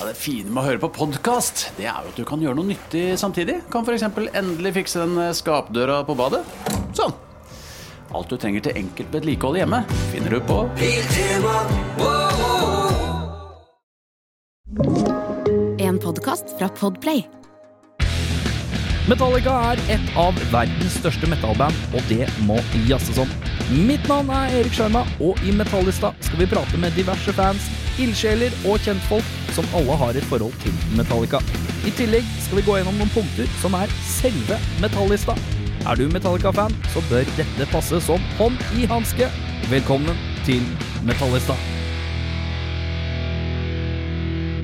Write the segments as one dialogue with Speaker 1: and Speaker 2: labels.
Speaker 1: Ja, det fine med å høre på podkast, det er jo at du kan gjøre noe nyttig samtidig. Kan f.eks. endelig fikse den eh, skapdøra på badet. Sånn. Alt du trenger til enkelt vedlikehold hjemme, finner du på
Speaker 2: En podkast fra Podplay.
Speaker 3: Metallica er et av verdens største metallband, og det må jazzes om. Mitt navn er Erik Sjarma, og i Metallista skal vi prate med diverse fans, ildsjeler og kjentfolk som alle har et forhold til Metallica. I tillegg skal vi gå gjennom noen punkter som er selve Metallista. Er du Metallica-fan, så bør dette passe som hånd i hanske. Velkommen til Metallista.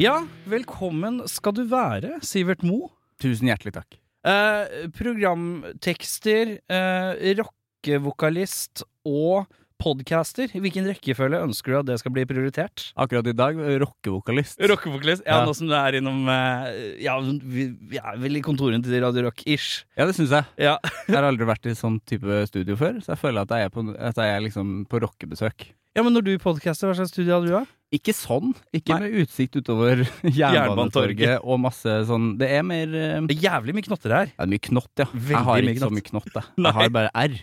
Speaker 3: Ja, velkommen skal du være, Sivert Moe.
Speaker 4: Tusen hjertelig takk.
Speaker 3: Eh, programtekster, eh, rockevokalist og podcaster. I hvilken rekkefølge ønsker du at det skal bli prioritert?
Speaker 4: Akkurat i dag, rockevokalist.
Speaker 3: Rockevokalist? Ja,
Speaker 4: Ja.
Speaker 3: nå som du er innom eh, Ja, vi, vi er vel i kontorene til Radio Rock-ish.
Speaker 4: Ja, det syns jeg.
Speaker 3: Ja.
Speaker 4: Jeg har aldri vært i sånn type studio før, så jeg føler at jeg er på, at jeg er liksom på rockebesøk.
Speaker 3: ja, men når du podcaster, hva slags studie hadde du da?
Speaker 4: Ikke sånn. Ikke
Speaker 3: Nei.
Speaker 4: med utsikt utover
Speaker 3: Jernbanetorget.
Speaker 4: Jernbanetorget og masse sånn Det er mer eh,
Speaker 3: Det er jævlig mye knotter her.
Speaker 4: Det er mye knott, ja.
Speaker 3: Veldig
Speaker 4: jeg har
Speaker 3: mye
Speaker 4: ikke så
Speaker 3: knott.
Speaker 4: mye knott, jeg.
Speaker 3: Nei.
Speaker 4: Jeg har bare R.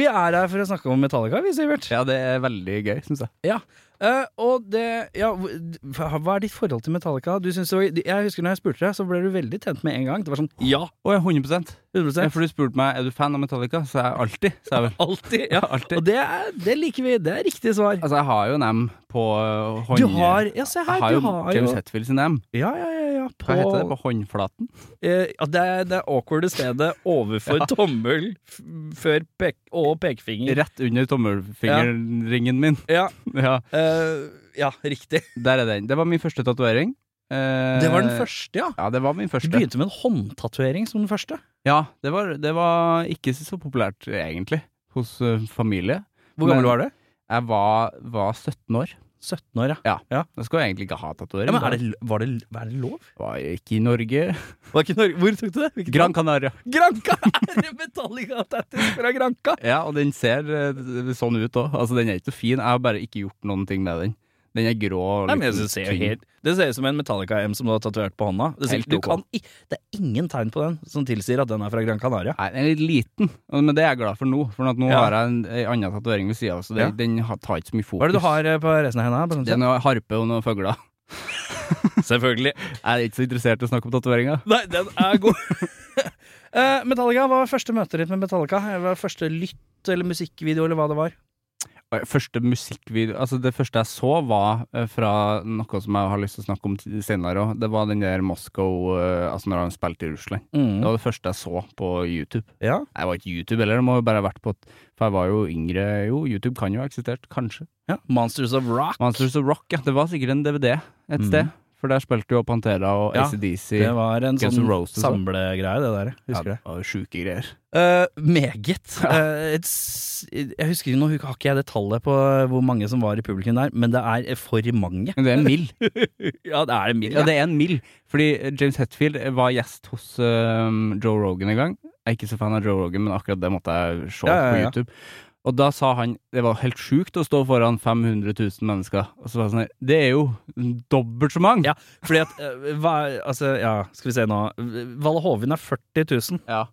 Speaker 3: Vi er her for å snakke om Metallica, vi, Sivert.
Speaker 4: Ja, det er veldig gøy, syns jeg.
Speaker 3: Eh, og det Ja, hva hva er ditt forhold til Metallica? Du synes det var, jeg husker når jeg spurte deg, så ble du veldig tent med en gang. Det var sånn Ja!
Speaker 4: Å ja, 100 Ja,
Speaker 3: 100
Speaker 4: For du spurte meg er du fan av Metallica, så jeg alltid, sa jeg vel.
Speaker 3: Alltid. Ja.
Speaker 4: alltid.
Speaker 3: Og det, er, det liker vi. Det er riktig svar.
Speaker 4: Altså, jeg har jo en M på eh, hånd...
Speaker 3: Du har Ja, se her.
Speaker 4: jeg har
Speaker 3: du
Speaker 4: jo
Speaker 3: har
Speaker 4: James
Speaker 3: jo
Speaker 4: Hetfield sin M.
Speaker 3: Ja, ja, ja. ja på,
Speaker 4: Hva heter det? På håndflaten?
Speaker 3: Eh, ja, det, er, det er awkwarde stedet overfor tommel f før pek og pekefinger.
Speaker 4: Rett under tommelfingerringen min.
Speaker 3: Ja,
Speaker 4: Ja,
Speaker 3: eh, ja, riktig.
Speaker 4: der er den. Det var min første tatovering. Eh,
Speaker 3: Det var den første, ja.
Speaker 4: Ja, det var min
Speaker 3: Du
Speaker 4: første.
Speaker 3: begynte med en håndtatovering som den første.
Speaker 4: Ja, det var, det var ikke så populært, egentlig, hos eh, familie.
Speaker 3: Hvor
Speaker 4: Men-
Speaker 3: gammel var du?
Speaker 4: Jeg var, var 17 år.
Speaker 3: 17 år, ja.
Speaker 4: Jeg skulle egentlig ikke ha tatovering.
Speaker 3: ja men er det, var, det, var det lov?
Speaker 4: Var ikke i Norge.
Speaker 3: Var ikke Norge, hvor tok du det? Hvilket
Speaker 4: Gran Canaria.
Speaker 3: land? Granca! Er det Metallica-tattis fra Granca?
Speaker 4: Ja, og den ser eh, sånn ut òg. Altså, den er ikke så fin. Jeg har bare ikke gjort noen ting med den. Den er grå. og
Speaker 3: Nei, men jeg
Speaker 4: litt
Speaker 3: synes det, ser
Speaker 4: tynn.
Speaker 3: jo helt, det ser ut som en Metallica-M som du har tatovert på hånda. Det ser,
Speaker 4: Helt
Speaker 3: du
Speaker 4: ok.
Speaker 3: kan, i- det er ingen tegn på den som tilsier at den er fra Gran Canaria.
Speaker 4: Nei, den er litt liten, men det er jeg glad for nå. For at nå
Speaker 3: Ja.
Speaker 4: har jeg en, en annen tatovering ved sida av, så det,
Speaker 3: Ja.
Speaker 4: den har- tar ikke så mye fokus.
Speaker 3: Hva er det du har eh, på resten av henda? på
Speaker 4: Det er
Speaker 3: sånn
Speaker 4: noe harpe og noen fugler.
Speaker 3: sett? Selvfølgelig.
Speaker 4: Jeg er ikke så interessert i å snakke om tatoveringer.
Speaker 3: Nei, den er god. Eh, Metallica, hva var første møtet ditt med Metallica? Eh, Hva var første lytt eller musikkvideo eller hva det var?
Speaker 4: Første musikkvideo Altså, det første jeg så, var eh, fra noe som jeg har lyst til å snakke om t- senere òg. Det var den der Moscow eh, Altså, når han spilte i Russland. Det
Speaker 3: Mm.
Speaker 4: var det første jeg så på YouTube.
Speaker 3: Ja.
Speaker 4: Nei, Det var ikke YouTube heller, det må jo bare ha vært på et- For jeg var jo yngre. Jo, YouTube kan jo ha eksistert, kanskje.
Speaker 3: ja. Monsters of Rock.
Speaker 4: Monsters of Rock, ja. Det var sikkert en DVD et
Speaker 3: Mhm.
Speaker 4: sted. For der spilte jo Pantera og
Speaker 3: Ja,
Speaker 4: ACDC.
Speaker 3: Det var en
Speaker 4: Guns
Speaker 3: sånn
Speaker 4: N' Roses, da.
Speaker 3: samlegreie, det der. Husker du det?
Speaker 4: Ja, det var sjuke greier.
Speaker 3: Eh, meget. Eh, et, s- jeg husker Nå har ikke jeg det tallet på eh, hvor mange som var i publikum der, men det er for mange.
Speaker 4: Men det er en mill.
Speaker 3: Ja, det er det mye.
Speaker 4: Ja, det er en mill. Fordi eh, James Hetfield var gjest hos øhm, Joe Rogan en gang. Jeg er ikke så fan av Joe Rogan, men akkurat det måtte jeg se
Speaker 3: Ja, ja,
Speaker 4: på
Speaker 3: ja.
Speaker 4: YouTube. Og da sa han det var helt sjukt å stå foran 500 000 mennesker. Og så var jeg sånn her Det er jo dobbelt så mange!
Speaker 3: Ja. Fordi at eh, hva, Altså, ja, skal vi se nå. Valle Hovin er 40 000,
Speaker 4: Ja.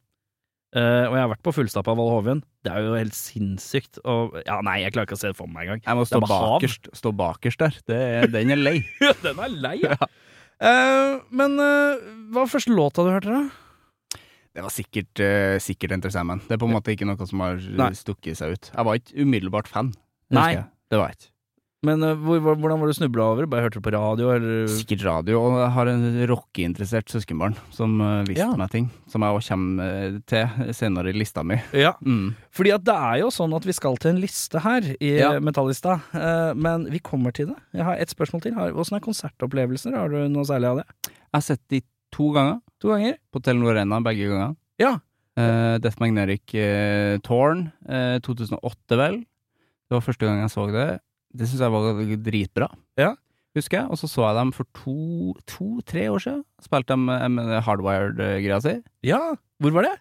Speaker 3: eh, og jeg har vært på fullstappa Valle Hovin. Det er jo helt sinnssykt. Og ja, nei, jeg klarer ikke å se det for meg engang.
Speaker 4: Jeg må
Speaker 3: Det er
Speaker 4: stå
Speaker 3: bare hav.
Speaker 4: bakerst, stå bakerst der. Det, er- den er lei.
Speaker 3: Den er lei, ja. men eh, hva var første låta du hørte, da?
Speaker 4: Det var sikkert, uh, sikkert Enter Sandman. Det er på en måte ikke noe som har eh,
Speaker 3: Nei.
Speaker 4: stukket seg ut. Jeg var ikke umiddelbart fan. husker
Speaker 3: Nei.
Speaker 4: jeg. Det var jeg ikke.
Speaker 3: Men eh, hvor, hvor- hvordan var det du snubla over? Bare hørte du på radio, eller
Speaker 4: Sikkert radio, og jeg har en rockeinteressert søskenbarn som eh, viste
Speaker 3: Ja.
Speaker 4: meg ting. Som jeg også kommer eh, til senere i lista mi.
Speaker 3: Ja. Fordi at det er jo sånn at vi skal til en liste her i
Speaker 4: Ja.
Speaker 3: Metallista, eh, men vi kommer til det. Jeg har et spørsmål til. Har- Hvordan er konsertopplevelser? Har du noe særlig av det?
Speaker 4: Jeg har sett de to ganger
Speaker 3: To ganger?
Speaker 4: på Telenor Arena, begge gangene.
Speaker 3: Ja.
Speaker 4: Eh, Death Magnetic eh, Torn, eh, 2008 vel. Det var første gang jeg så det. Det syns jeg var dritbra.
Speaker 3: Ja.
Speaker 4: Husker jeg. Og så så jeg dem for to-tre år siden. Spilte de eh, med hardwired-greia si.
Speaker 3: Ja! Hvor var det?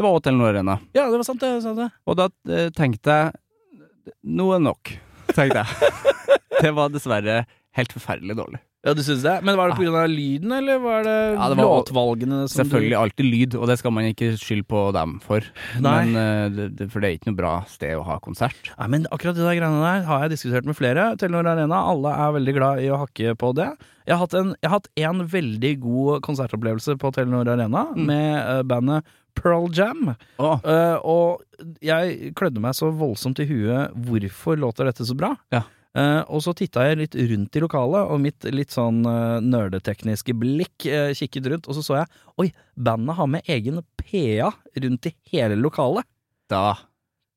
Speaker 4: Det var også Telenor Arena.
Speaker 3: Ja, det var sant, det. Sant det.
Speaker 4: Og da eh, tenkte jeg Nå er nok, tenkte jeg. det var dessverre helt forferdelig dårlig.
Speaker 3: Ja, du syns det? Men var det pga. lyden, eller var det,
Speaker 4: Ja, det var-
Speaker 3: låtvalgene som
Speaker 4: Selvfølgelig alltid lyd, og det skal man ikke skylde på dem for.
Speaker 3: Nei.
Speaker 4: Men, eh, det, det, for det er ikke noe bra sted å ha konsert.
Speaker 3: du Nei, men akkurat de der greiene der har jeg diskutert med flere. Telenor Arena, alle er veldig glad i å hakke på det. Jeg har hatt en, jeg har hatt en veldig god konsertopplevelse på Telenor Arena med eh, bandet Pearl Jam.
Speaker 4: Åh.
Speaker 3: Eh, og jeg klødde meg så voldsomt i huet hvorfor låter dette så bra.
Speaker 4: Ja.
Speaker 3: Eh, og så titta jeg litt rundt i lokalet, og mitt litt sånn eh, nerdetekniske blikk eh, kikket rundt, og så så jeg Oi, bandet har med egen PA rundt i hele lokalet.
Speaker 4: Da,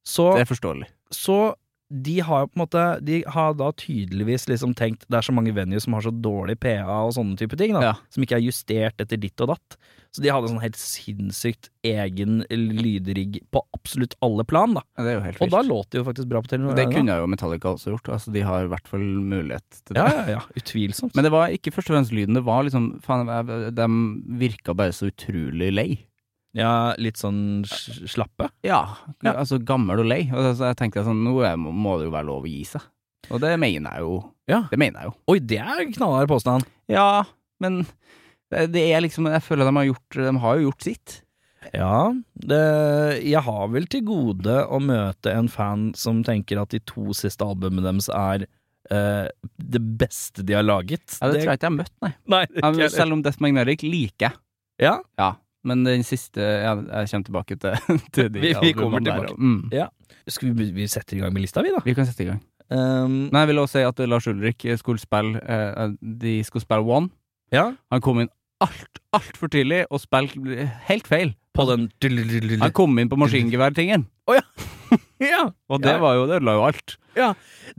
Speaker 3: Så,
Speaker 4: det er forståelig.
Speaker 3: så de har på en måte De har da tydeligvis liksom tenkt Det er så mange venues som har så dårlig PA og sånne type ting, da,
Speaker 4: Ja.
Speaker 3: som ikke er justert etter ditt og datt. Så de hadde sånn helt sinnssykt egen lydrigg på absolutt alle plan, da.
Speaker 4: Ja, Det er jo helt
Speaker 3: Og da
Speaker 4: vilt.
Speaker 3: låt det jo faktisk bra på Telenor.
Speaker 4: Det
Speaker 3: Arena.
Speaker 4: kunne jo Metallica også gjort. Altså, de har i hvert fall mulighet til det.
Speaker 3: Ja, ja, ja. Utvilsomt.
Speaker 4: Men det var ikke først og fremst lyden. Det var liksom faen, jeg- De virka bare så utrolig lei.
Speaker 3: ja, litt sånn s- slappe.
Speaker 4: Ja. Altså gammel og lei. Og så jeg tenkte jeg sånn Nå er- må det jo være lov å gi seg. Og det mener jeg jo.
Speaker 3: Ja.
Speaker 4: Det mener jeg jo.
Speaker 3: Oi, det er en knallhard påstand.
Speaker 4: Ja, men det det er liksom Jeg føler de har gjort De har jo gjort sitt.
Speaker 3: Ja, det, jeg har vel til gode å møte en fan som tenker at de to siste albumene deres er eh, det beste de har laget.
Speaker 4: Ja, det, tror jeg ikke jeg har møtt, nei.
Speaker 3: Nei, det er
Speaker 4: Ja,
Speaker 3: ikke
Speaker 4: men
Speaker 3: jeg.
Speaker 4: selv om Death Magnetic liker jeg.
Speaker 3: Ja,
Speaker 4: Ja. Men den siste ja, Jeg kommer tilbake til, til de
Speaker 3: Vi- vi kommer
Speaker 4: albumene der,
Speaker 3: tilbake.
Speaker 4: Mm.
Speaker 3: skal vi, vi setter i gang med lista, vi, da.
Speaker 4: Vi kan sette i gang.
Speaker 3: Um,
Speaker 4: Nei, jeg vil også si at Lars Ulrik skulle spille eh, De skulle spille One.
Speaker 3: ja,
Speaker 4: Han kom inn alt, altfor tidlig og spilte helt feil.
Speaker 3: på den
Speaker 4: Han kom inn på maskingeværtingen,
Speaker 3: Ja,
Speaker 4: og det
Speaker 3: Ja.
Speaker 4: var jo, det ødela jo alt.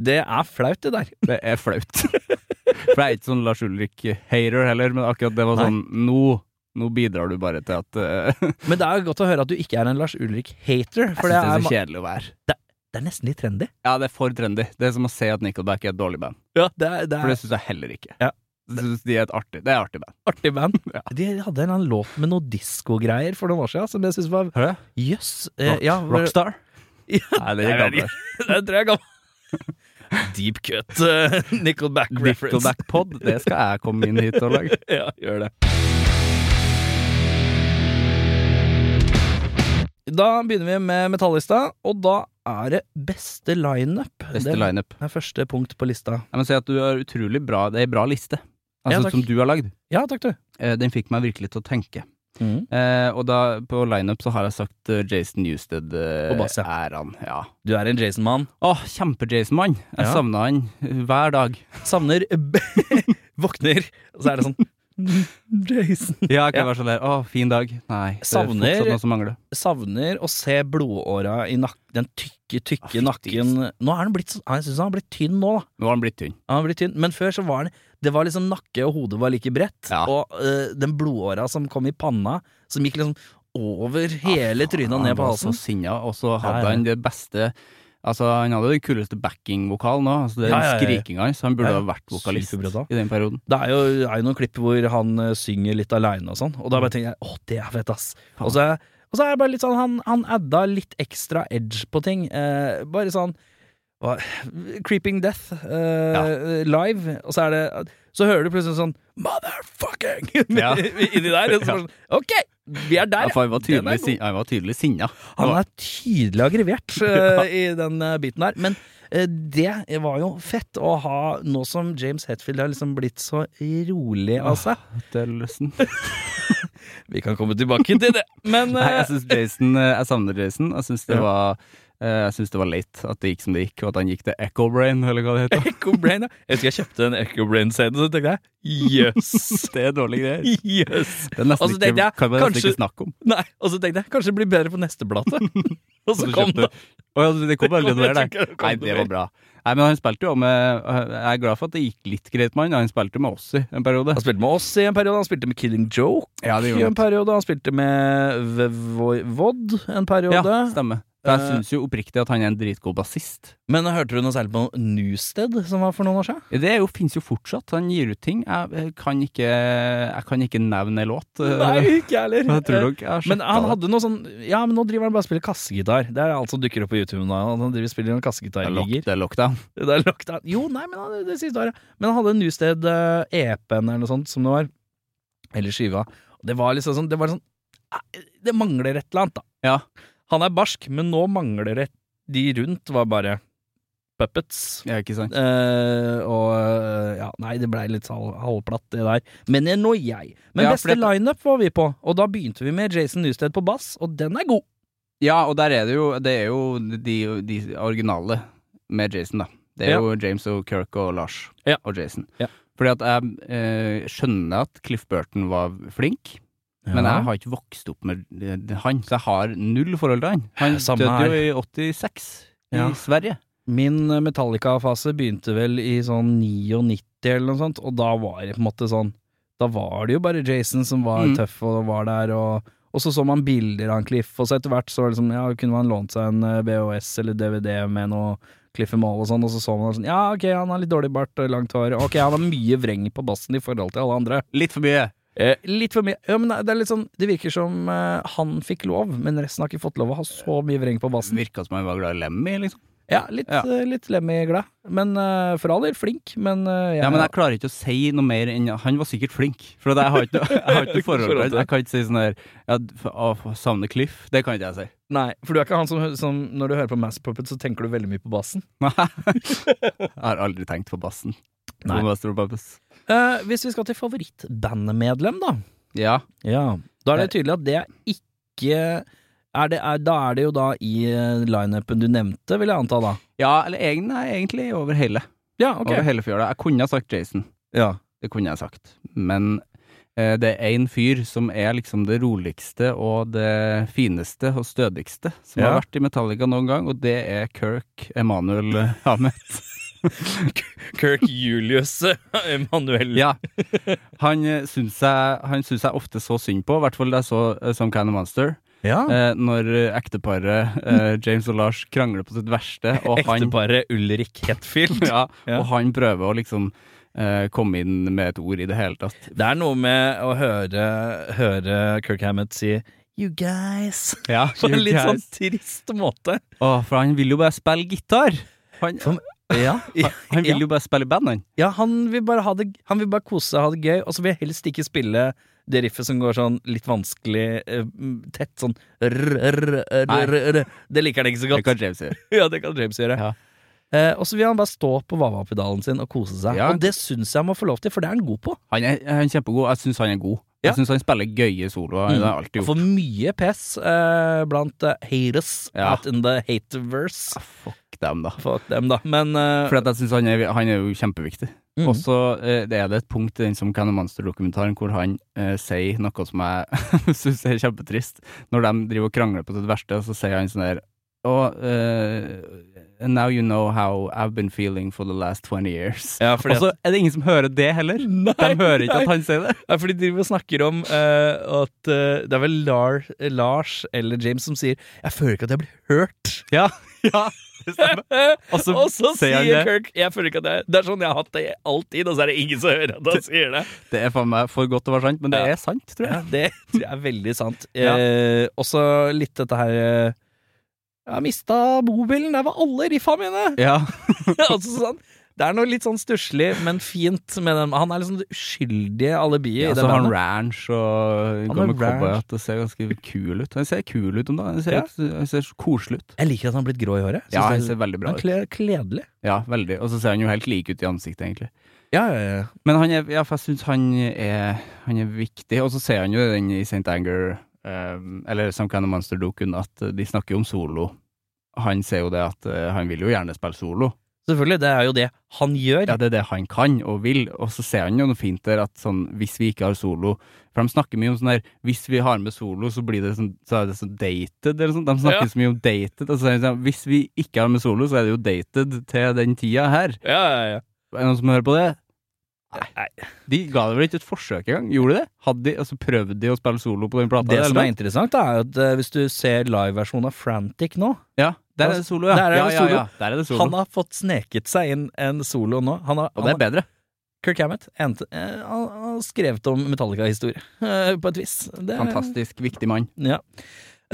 Speaker 3: det er flaut, det der.
Speaker 4: Det er flaut. For jeg er ikke sånn Lars Ulrik-hater heller, men akkurat det var
Speaker 3: Nei.
Speaker 4: sånn Nå, nå bidrar du bare til at eh,
Speaker 3: Men det er jo godt å høre at du ikke er en Lars Ulrik-hater,
Speaker 4: Jeg syns
Speaker 3: for det
Speaker 4: det er
Speaker 3: er,
Speaker 4: så
Speaker 3: ma-
Speaker 4: kjedelig å være.
Speaker 3: det er nesten litt trendy.
Speaker 4: Ja, det er for trendy. Det er som å si at Nickelback er et dårlig band.
Speaker 3: Ja, det er, det
Speaker 4: For
Speaker 3: er
Speaker 4: det syns jeg heller ikke.
Speaker 3: Ja.
Speaker 4: Jeg synes de er et artig, det er et artig band.
Speaker 3: artig band. De hadde en eller annen låt med noe diskogreier for noen år siden som jeg syntes var
Speaker 4: Hører
Speaker 3: jøss. eh,
Speaker 4: Rock,
Speaker 3: ja,
Speaker 4: Rockstar?
Speaker 3: Ja,
Speaker 4: Nei, det
Speaker 3: Jeg
Speaker 4: er
Speaker 3: vet
Speaker 4: gammel.
Speaker 3: det tror jeg er gammel. Deep cut eh, Nickelback reference.
Speaker 4: Nickelback-pod, det skal jeg komme inn hit og lage.
Speaker 3: Ja, gjør det. Da begynner vi med metallista, og da er det beste lineup.
Speaker 4: Beste
Speaker 3: Det
Speaker 4: lineup.
Speaker 3: er første punkt på lista.
Speaker 4: Jeg må si at du har utrolig bra Det er en bra liste
Speaker 3: Ja,
Speaker 4: altså,
Speaker 3: takk.
Speaker 4: som du har lagd.
Speaker 3: Ja, takk, du.
Speaker 4: Eh, Den fikk meg virkelig til å tenke.
Speaker 3: Mhm.
Speaker 4: Eh, og da på lineup så har jeg sagt eh, Jason Newsted eh,
Speaker 3: På bass, ja.
Speaker 4: er han. Ja.
Speaker 3: Du er en Jason-mann.
Speaker 4: Å, kjempe-Jason-mann. Jeg
Speaker 3: Ja.
Speaker 4: savna han hver dag.
Speaker 3: Savner Våkner, og så er det sånn Jason.
Speaker 4: Ja, jeg
Speaker 3: kan
Speaker 4: kan være sånn der. Å, fin dag. Nei,
Speaker 3: er Savner- fortsatt noe
Speaker 4: noe som mangler.
Speaker 3: savner å se blodåra i nak den tykke,
Speaker 4: Ah,
Speaker 3: tykke
Speaker 4: fytti
Speaker 3: nakken. Nå er den blitt, så- ah, jeg synes han har blitt tynn nå, da.
Speaker 4: Nå har han blitt tynn.
Speaker 3: Han har blitt tynn, men før så var den Det var liksom nakke og hodet var like bredt,
Speaker 4: Ja.
Speaker 3: og øh, den blodåra som kom i panna, som gikk liksom over hele trynet
Speaker 4: Ah,
Speaker 3: og
Speaker 4: Han
Speaker 3: ned på
Speaker 4: var så
Speaker 3: halsen.
Speaker 4: sinna, og så hadde
Speaker 3: Ja, ja.
Speaker 4: han det beste Altså, han hadde den kuleste backing-vokalen òg. Altså, den
Speaker 3: Ja, ja, ja, ja.
Speaker 4: skrikinga hans. Han burde
Speaker 3: Ja, ja.
Speaker 4: ha vært vokalist
Speaker 3: Superbra da.
Speaker 4: i den perioden.
Speaker 3: Det er jo, er jo noen klipp hvor han øh, synger litt aleine og sånn, og da bare
Speaker 4: Mm.
Speaker 3: tenker jeg åh, det er fett, ass. Og så, og så er det bare litt sånn, han, han adda litt ekstra edge på ting. eh, bare sånn hva, Creeping Death eh, live, og så er det Så hører du plutselig sånn Motherfucking!
Speaker 4: Ja.
Speaker 3: inni der. Og så bare sånn, ok, vi er
Speaker 4: Ja,
Speaker 3: der,
Speaker 4: for han var
Speaker 3: Den er
Speaker 4: tydelig,
Speaker 3: god.
Speaker 4: sin, han var tydelig sinna.
Speaker 3: Han er tydelig aggravert eh, i den eh, biten der. Men eh, det var jo fett å ha, nå som James Hetfield har liksom blitt så rolig av seg.
Speaker 4: Døllesen.
Speaker 3: Ah, Vi kan komme tilbake til det, men
Speaker 4: Nei, jeg
Speaker 3: eh,
Speaker 4: synes Jason eh, Jeg savner Jason. Jeg syns det
Speaker 3: Ja.
Speaker 4: var eh, Jeg synes det var late at det gikk som det gikk, og at han gikk til Echo Brain, eller hva det heter.
Speaker 3: Echo Brain, ja. Jeg husker jeg kjøpte en Echo Brain-scene, så tenkte jeg jøss.
Speaker 4: Det er dårlige greier.
Speaker 3: Jøss.
Speaker 4: Det er nesten
Speaker 3: Altså,
Speaker 4: ikke,
Speaker 3: tenkte jeg,
Speaker 4: kan man nesten
Speaker 3: kanskje-
Speaker 4: ikke snakke om.
Speaker 3: Nei, og så tenkte jeg kanskje det blir bedre på neste plate. Og så
Speaker 4: Så
Speaker 3: kom
Speaker 4: kjøpte-
Speaker 3: det.
Speaker 4: Å ja, det kom
Speaker 3: Det
Speaker 4: aldri
Speaker 3: kom-
Speaker 4: noe
Speaker 3: jeg
Speaker 4: der,
Speaker 3: tenker det kom
Speaker 4: nei. Nei,
Speaker 3: noe
Speaker 4: det
Speaker 3: mer.
Speaker 4: var bra. Nei, men han spilte jo med Jeg er glad for at det gikk litt greit med han. Han spilte med oss i en periode.
Speaker 3: Han spilte med oss i en periode, han spilte med Killing Joke
Speaker 4: Ja, det
Speaker 3: i en periode, han spilte med V- Vo- Vod en periode.
Speaker 4: stemmer. For jeg syns jo oppriktig at han er en dritgod bassist.
Speaker 3: Men hørte du noe særlig på Newsted, som var for noen år siden?
Speaker 4: Det er jo, fins jo fortsatt. Han gir ut ting. Jeg, eh, kan ikke, jeg kan ikke nevne en låt. eh,
Speaker 3: ikke jeg
Speaker 4: men Jeg tror nok jeg har
Speaker 3: Men
Speaker 4: sjekket
Speaker 3: han
Speaker 4: det.
Speaker 3: hadde noe sånn Ja, men nå driver han bare og spiller kassegitar. Det er alt som dukker opp på YouTube nå. Han driver og spiller
Speaker 4: Det er
Speaker 3: noen
Speaker 4: lock-
Speaker 3: kassegitarligger.
Speaker 4: det er lockdown.
Speaker 3: Det er lockdown. Jo, nei, men han, det siste året. Men han hadde en Newsted uh, EP-en eller noe sånt som det var. Eller skiva. Og Det var liksom sånn Det var sånn eh, Det mangler et eller annet, da.
Speaker 4: Ja.
Speaker 3: Han er barsk, men nå mangler det De rundt var bare puppets.
Speaker 4: Ja, ikke sant?
Speaker 3: Eh, og eh, ja, nei, det blei litt hal- halvplatt, det der. Men jeg nå jeg. Men
Speaker 4: Ja, for
Speaker 3: beste
Speaker 4: det-
Speaker 3: lineup var vi på, og da begynte vi med Jason Newsted på bass, og den er god.
Speaker 4: Ja, og der er det jo Det er jo de, de originale med Jason, da. Det er
Speaker 3: Ja.
Speaker 4: jo James og Kirk og Lars
Speaker 3: Ja.
Speaker 4: og Jason.
Speaker 3: Ja.
Speaker 4: Fordi at jeg eh, skjønner at Cliff Burton var flink, men jeg har ikke vokst opp med eh, han, så jeg har null forhold til han. Han
Speaker 3: Samme
Speaker 4: døde jo i 86
Speaker 3: Ja.
Speaker 4: i Sverige.
Speaker 3: Min eh, Metallica-fase begynte vel i sånn 99 eller noe sånt, og da var det på en måte sånn Da var det jo bare Jason som var
Speaker 4: Mm.
Speaker 3: tøff og var der, og, og så så man bilder av Cliff, og så etter hvert så var det sånn Ja, kunne man lånt seg en eh, BHS eller DVD med noe Cliff i mål og sånn, og så så man sånn Ja, ok, han har litt dårlig bart og langt hår, ok, han har mye vreng på bassen i forhold til alle andre.
Speaker 4: Litt for mye.
Speaker 3: Eh, litt for mye Ja, men det er- det er litt sånn Det virker som eh, han fikk lov, men resten har ikke fått lov å ha så mye vreng på bassen.
Speaker 4: Virka som han var glad i Lemmy, liksom.
Speaker 3: Ja, litt,
Speaker 4: Ja.
Speaker 3: eh, litt Lemmy-glad. Men eh, for all del flink, men eh, jeg,
Speaker 4: Ja, men jeg klarer ikke å si noe mer enn Han var sikkert flink, for at jeg har ikke, jeg har ikke noe forhold til han. Jeg kan ikke si sånn her ja, f- å, Savner Cliff. Det kan ikke jeg si.
Speaker 3: Nei, for du er ikke han som, som når du hører på Mass Puppet, så tenker du veldig mye på bassen.
Speaker 4: Jeg har aldri tenkt på bassen.
Speaker 3: Nei.
Speaker 4: På Master of Puppets.
Speaker 3: Eh, hvis vi skal til favorittbandmedlem, da.
Speaker 4: Ja.
Speaker 3: Ja. Eh. Da er det tydelig at det er ikke er det, er, Da er det jo da i eh, lineupen du nevnte, vil jeg anta, da.
Speaker 4: ja, eller egen, nei, egentlig over hele.
Speaker 3: Ja,
Speaker 4: Over hele fjøla. Jeg kunne ha sagt Jason.
Speaker 3: Ja.
Speaker 4: Det kunne jeg sagt. Men eh, det er én fyr som er liksom det roligste og det fineste og stødigste som
Speaker 3: Ja.
Speaker 4: har vært i Metallica noen gang, og det er Kirk Emanuel eh, Hamet.
Speaker 3: Kirk Julius Emanuel.
Speaker 4: Ja. Han eh, syns jeg, han syns jeg ofte så synd på, i hvert fall da jeg så eh, Some Kind of Monster.
Speaker 3: Mm.
Speaker 4: Eh, når eh, ekteparet eh, James og Lars krangler på sitt verste, og han,
Speaker 3: Ekteparet Ulrik Hetfield.
Speaker 4: ja,
Speaker 3: Ja.
Speaker 4: og han prøver å liksom eh, komme inn med et ord i det hele tatt.
Speaker 3: Det er noe med å høre, høre Kirk Hammett si You guys
Speaker 4: Ja,
Speaker 3: På en litt sånn trist måte.
Speaker 4: for han vil jo bare spille gitar! Han,
Speaker 3: Som- Ja,
Speaker 4: han vil jo bare spille i band, han.
Speaker 3: han, vil bare ha det, han vil bare kose seg, ha det gøy, og så vil jeg helst ikke spille det riffet som går sånn litt vanskelig, eh, mm, tett sånn rr, rr, rr,
Speaker 4: Nei.
Speaker 3: rr, rr. Det liker han ikke så
Speaker 4: Det
Speaker 3: godt.
Speaker 4: kan James gjøre.
Speaker 3: Ja, det kan James gjøre.
Speaker 4: Ja.
Speaker 3: Eh, og så vil han bare stå på Vava-pedalen sin og kose seg.
Speaker 4: Ja.
Speaker 3: Og det syns jeg han må få lov til, for det er han god på.
Speaker 4: Han er, han er kjempegod. Jeg syns han er god.
Speaker 3: Ja. Mm.
Speaker 4: Jeg syns han spiller gøye soloer. Det har jeg alltid
Speaker 3: Han
Speaker 4: gjort.
Speaker 3: får mye pes eh, blant eh, haters
Speaker 4: Ja.
Speaker 3: out in the hateverse.
Speaker 4: Ah, Fuck dem, da.
Speaker 3: Fuck dem, da. Men eh,
Speaker 4: For at jeg synes han, er- han er jo kjempeviktig.
Speaker 3: Mhm.
Speaker 4: Og så eh, det er det et punkt i den som Can Monster-dokumentaren hvor han eh, sier noe som jeg syns er kjempetrist. Når de driver og krangler på sitt verste, så sier han sånn der «Å, eh, And now you know how I've been feeling for the last 20 years.
Speaker 3: ja, fordi
Speaker 4: Og så er det ingen som hører det heller.
Speaker 3: Nei,
Speaker 4: De hører ikke
Speaker 3: nei.
Speaker 4: at han sier det.
Speaker 3: Ja, for de driver og snakker om eh, at eh, det er vel Lar, Lars eller James som sier 'Jeg føler ikke at jeg blir hørt'.
Speaker 4: Ja, ja, det stemmer. Og så,
Speaker 3: og så
Speaker 4: sier han
Speaker 3: sier
Speaker 4: det.
Speaker 3: Kirk 'Jeg føler ikke at jeg Det er sånn jeg har hatt det alltid, og så er det ingen som hører at han sier det.
Speaker 4: Det er faen meg for godt til å være sant, men det
Speaker 3: Ja.
Speaker 4: er sant, tror jeg.
Speaker 3: Ja, det tror jeg er veldig sant.
Speaker 4: Ja.
Speaker 3: Eh, også litt dette her eh, Jeg har mista bobilen, der var alle riffa mine!
Speaker 4: Ja.
Speaker 3: altså sånn det er noe litt sånn stusslig, men fint med den. Han er liksom det uskyldige alibiet
Speaker 4: Ja,
Speaker 3: i
Speaker 4: så
Speaker 3: det
Speaker 4: har han
Speaker 3: bandet.
Speaker 4: ranch og
Speaker 3: Han
Speaker 4: går
Speaker 3: har
Speaker 4: med cowboy
Speaker 3: ranch.
Speaker 4: at det ser ganske kul ut. Han ser kul ut om dagen. Han ser,
Speaker 3: Ja.
Speaker 4: ut- han ser så koselig ut.
Speaker 3: Jeg liker at han har blitt grå i håret. Synes
Speaker 4: Ja, han
Speaker 3: det
Speaker 4: ser veldig bra
Speaker 3: han
Speaker 4: ut.
Speaker 3: kler kledelig.
Speaker 4: Ja, veldig. Og så ser han jo helt lik ut i ansiktet, egentlig.
Speaker 3: Ja, ja, ja.
Speaker 4: Men han er, ja, for jeg syns han, er- han er viktig. Og så ser han jo den i St. Anger, eh, eller Some Kind of Monster-dokuen, at eh, de snakker jo om solo. Han ser jo det at eh, han vil jo gjerne spille solo.
Speaker 3: Selvfølgelig, det er jo det han gjør.
Speaker 4: Ja, det er det han kan og vil, og så ser han jo noe fint der at sånn, hvis vi ikke har solo For de snakker mye om sånn der Hvis vi har med solo, så blir det sånn Så er det sånn dated, eller sånn. De snakker
Speaker 3: Ja.
Speaker 4: så mye om dated. Og så er det sånn, hvis vi ikke har med solo, så er det jo dated til den tida her.
Speaker 3: Ja, ja, ja.
Speaker 4: Er det noen som hører på det?
Speaker 3: Nei.
Speaker 4: De ga det vel ikke et forsøk engang? Gjorde de det? Hadde de, altså Prøvde de å spille solo på den plata?
Speaker 3: Det
Speaker 4: eller
Speaker 3: som
Speaker 4: noe?
Speaker 3: er interessant, er jo at eh, hvis du ser liveversjonen av Frantic nå
Speaker 4: Ja, der er det solo, ja.
Speaker 3: Der er det
Speaker 4: ja, ja,
Speaker 3: solo.
Speaker 4: ja, Der er det solo.
Speaker 3: Han har fått sneket seg inn en solo nå. Han har,
Speaker 4: Og det
Speaker 3: han
Speaker 4: er bedre.
Speaker 3: Kirk Hammett endte, eh, han han har skrevet om Metallica-historie, eh, på et vis. Det er-
Speaker 4: Fantastisk viktig mann.
Speaker 3: Ja.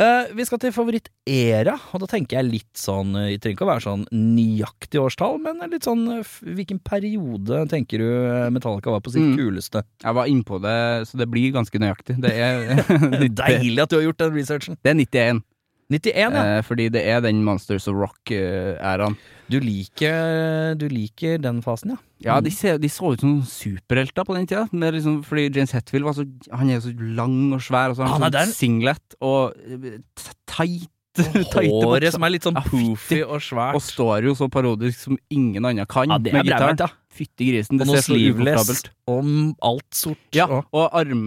Speaker 3: Eh, vi skal til favorittera, og da tenker jeg litt sånn eh, Det trenger ikke å være sånn nøyaktig årstall, men litt sånn eh, f- Hvilken periode tenker du eh, Metallica var på sitt
Speaker 4: Mm.
Speaker 3: kuleste?
Speaker 4: Jeg var innpå det, så det blir ganske nøyaktig. Det er, det
Speaker 3: Deilig at du har gjort den researchen!
Speaker 4: er 91,
Speaker 3: 91, ja.
Speaker 4: eh, fordi det er den Monsters of Rock-æraen.
Speaker 3: Du liker, du liker den fasen, ja.
Speaker 4: Ja, de, ser, de så ut som superhelter på den tida. Med liksom, fordi James Hetfield var så, han er jo så lang og svær, og så har han
Speaker 3: Han er
Speaker 4: sånn
Speaker 3: den-
Speaker 4: singlet og eh, t- tight. tighte
Speaker 3: Håret
Speaker 4: bukser.
Speaker 3: som er litt sånn
Speaker 4: Ja,
Speaker 3: poofy
Speaker 4: fytti.
Speaker 3: og
Speaker 4: Og
Speaker 3: svært.
Speaker 4: står jo så parodisk som ingen annen kan
Speaker 3: Ja, det er
Speaker 4: med gitaren.
Speaker 3: brevert, ja.
Speaker 4: Fytti grisen,
Speaker 3: Og
Speaker 4: det
Speaker 3: noe
Speaker 4: ser så
Speaker 3: sleeveless
Speaker 4: ukomfortabelt.
Speaker 3: og alt sort.
Speaker 4: Ja,
Speaker 3: og-
Speaker 4: og arm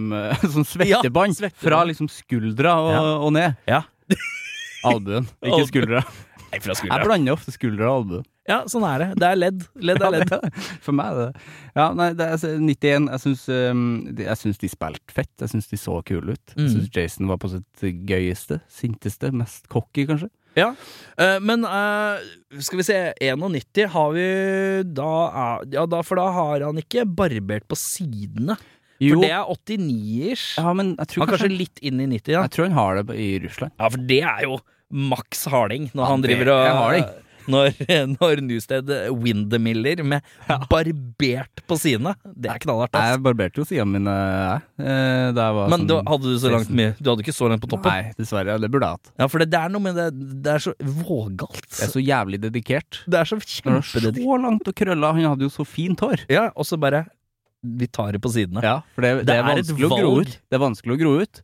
Speaker 4: Sånn svettebånd
Speaker 3: svettebånd.
Speaker 4: fra liksom skuldra og,
Speaker 3: Ja.
Speaker 4: og ned.
Speaker 3: Ja.
Speaker 4: Albuen, ikke
Speaker 3: Albuen.
Speaker 4: skuldra.
Speaker 3: Nei, fra
Speaker 4: Jeg
Speaker 3: skuldra.
Speaker 4: blander ofte skuldra og albue.
Speaker 3: Ja, sånn er det. Det er ledd. Ledd er ledd.
Speaker 4: For meg er det Ja, nei, det er altså 91. Jeg syns, um, de- jeg syns de spilte fett. Jeg syns de så kule ut. Jeg
Speaker 3: Mm.
Speaker 4: syns Jason var på sitt gøyeste, sinteste, mest cocky, kanskje.
Speaker 3: Ja, eh, men eh, skal vi se 91 har vi da er, Ja, da, for da har han ikke barbert på sidene. For det er 89-ish.
Speaker 4: ja, men jeg tror
Speaker 3: Han er
Speaker 4: kanskje,
Speaker 3: kanskje litt inn i 90, ja.
Speaker 4: Jeg tror han har det i Russland.
Speaker 3: Ja, for det er jo maks harding når
Speaker 4: Ja,
Speaker 3: han
Speaker 4: det
Speaker 3: driver og
Speaker 4: er harding.
Speaker 3: Når, når Newsted Windemiller med barbert på sidene. Det er knallhardt. ass.
Speaker 4: Jeg barberte jo sidene mine, jeg. eh, Da jeg var
Speaker 3: Men
Speaker 4: sånn-
Speaker 3: da hadde du så langt mye Du hadde ikke så langt på toppen.
Speaker 4: Nei, dessverre. Det burde jeg hatt.
Speaker 3: Ja, for det, det er noe med det Det er så vågalt.
Speaker 4: Jeg er så jævlig dedikert.
Speaker 3: Det er så
Speaker 4: Det var så langt og krølla. Han hadde jo så fint hår.
Speaker 3: Ja, og så bare Vi tar det på sidene.
Speaker 4: Ja, for det, det,
Speaker 3: Det
Speaker 4: er
Speaker 3: er et
Speaker 4: vanskelig å gro
Speaker 3: valg.
Speaker 4: ut. Det er vanskelig å gro ut.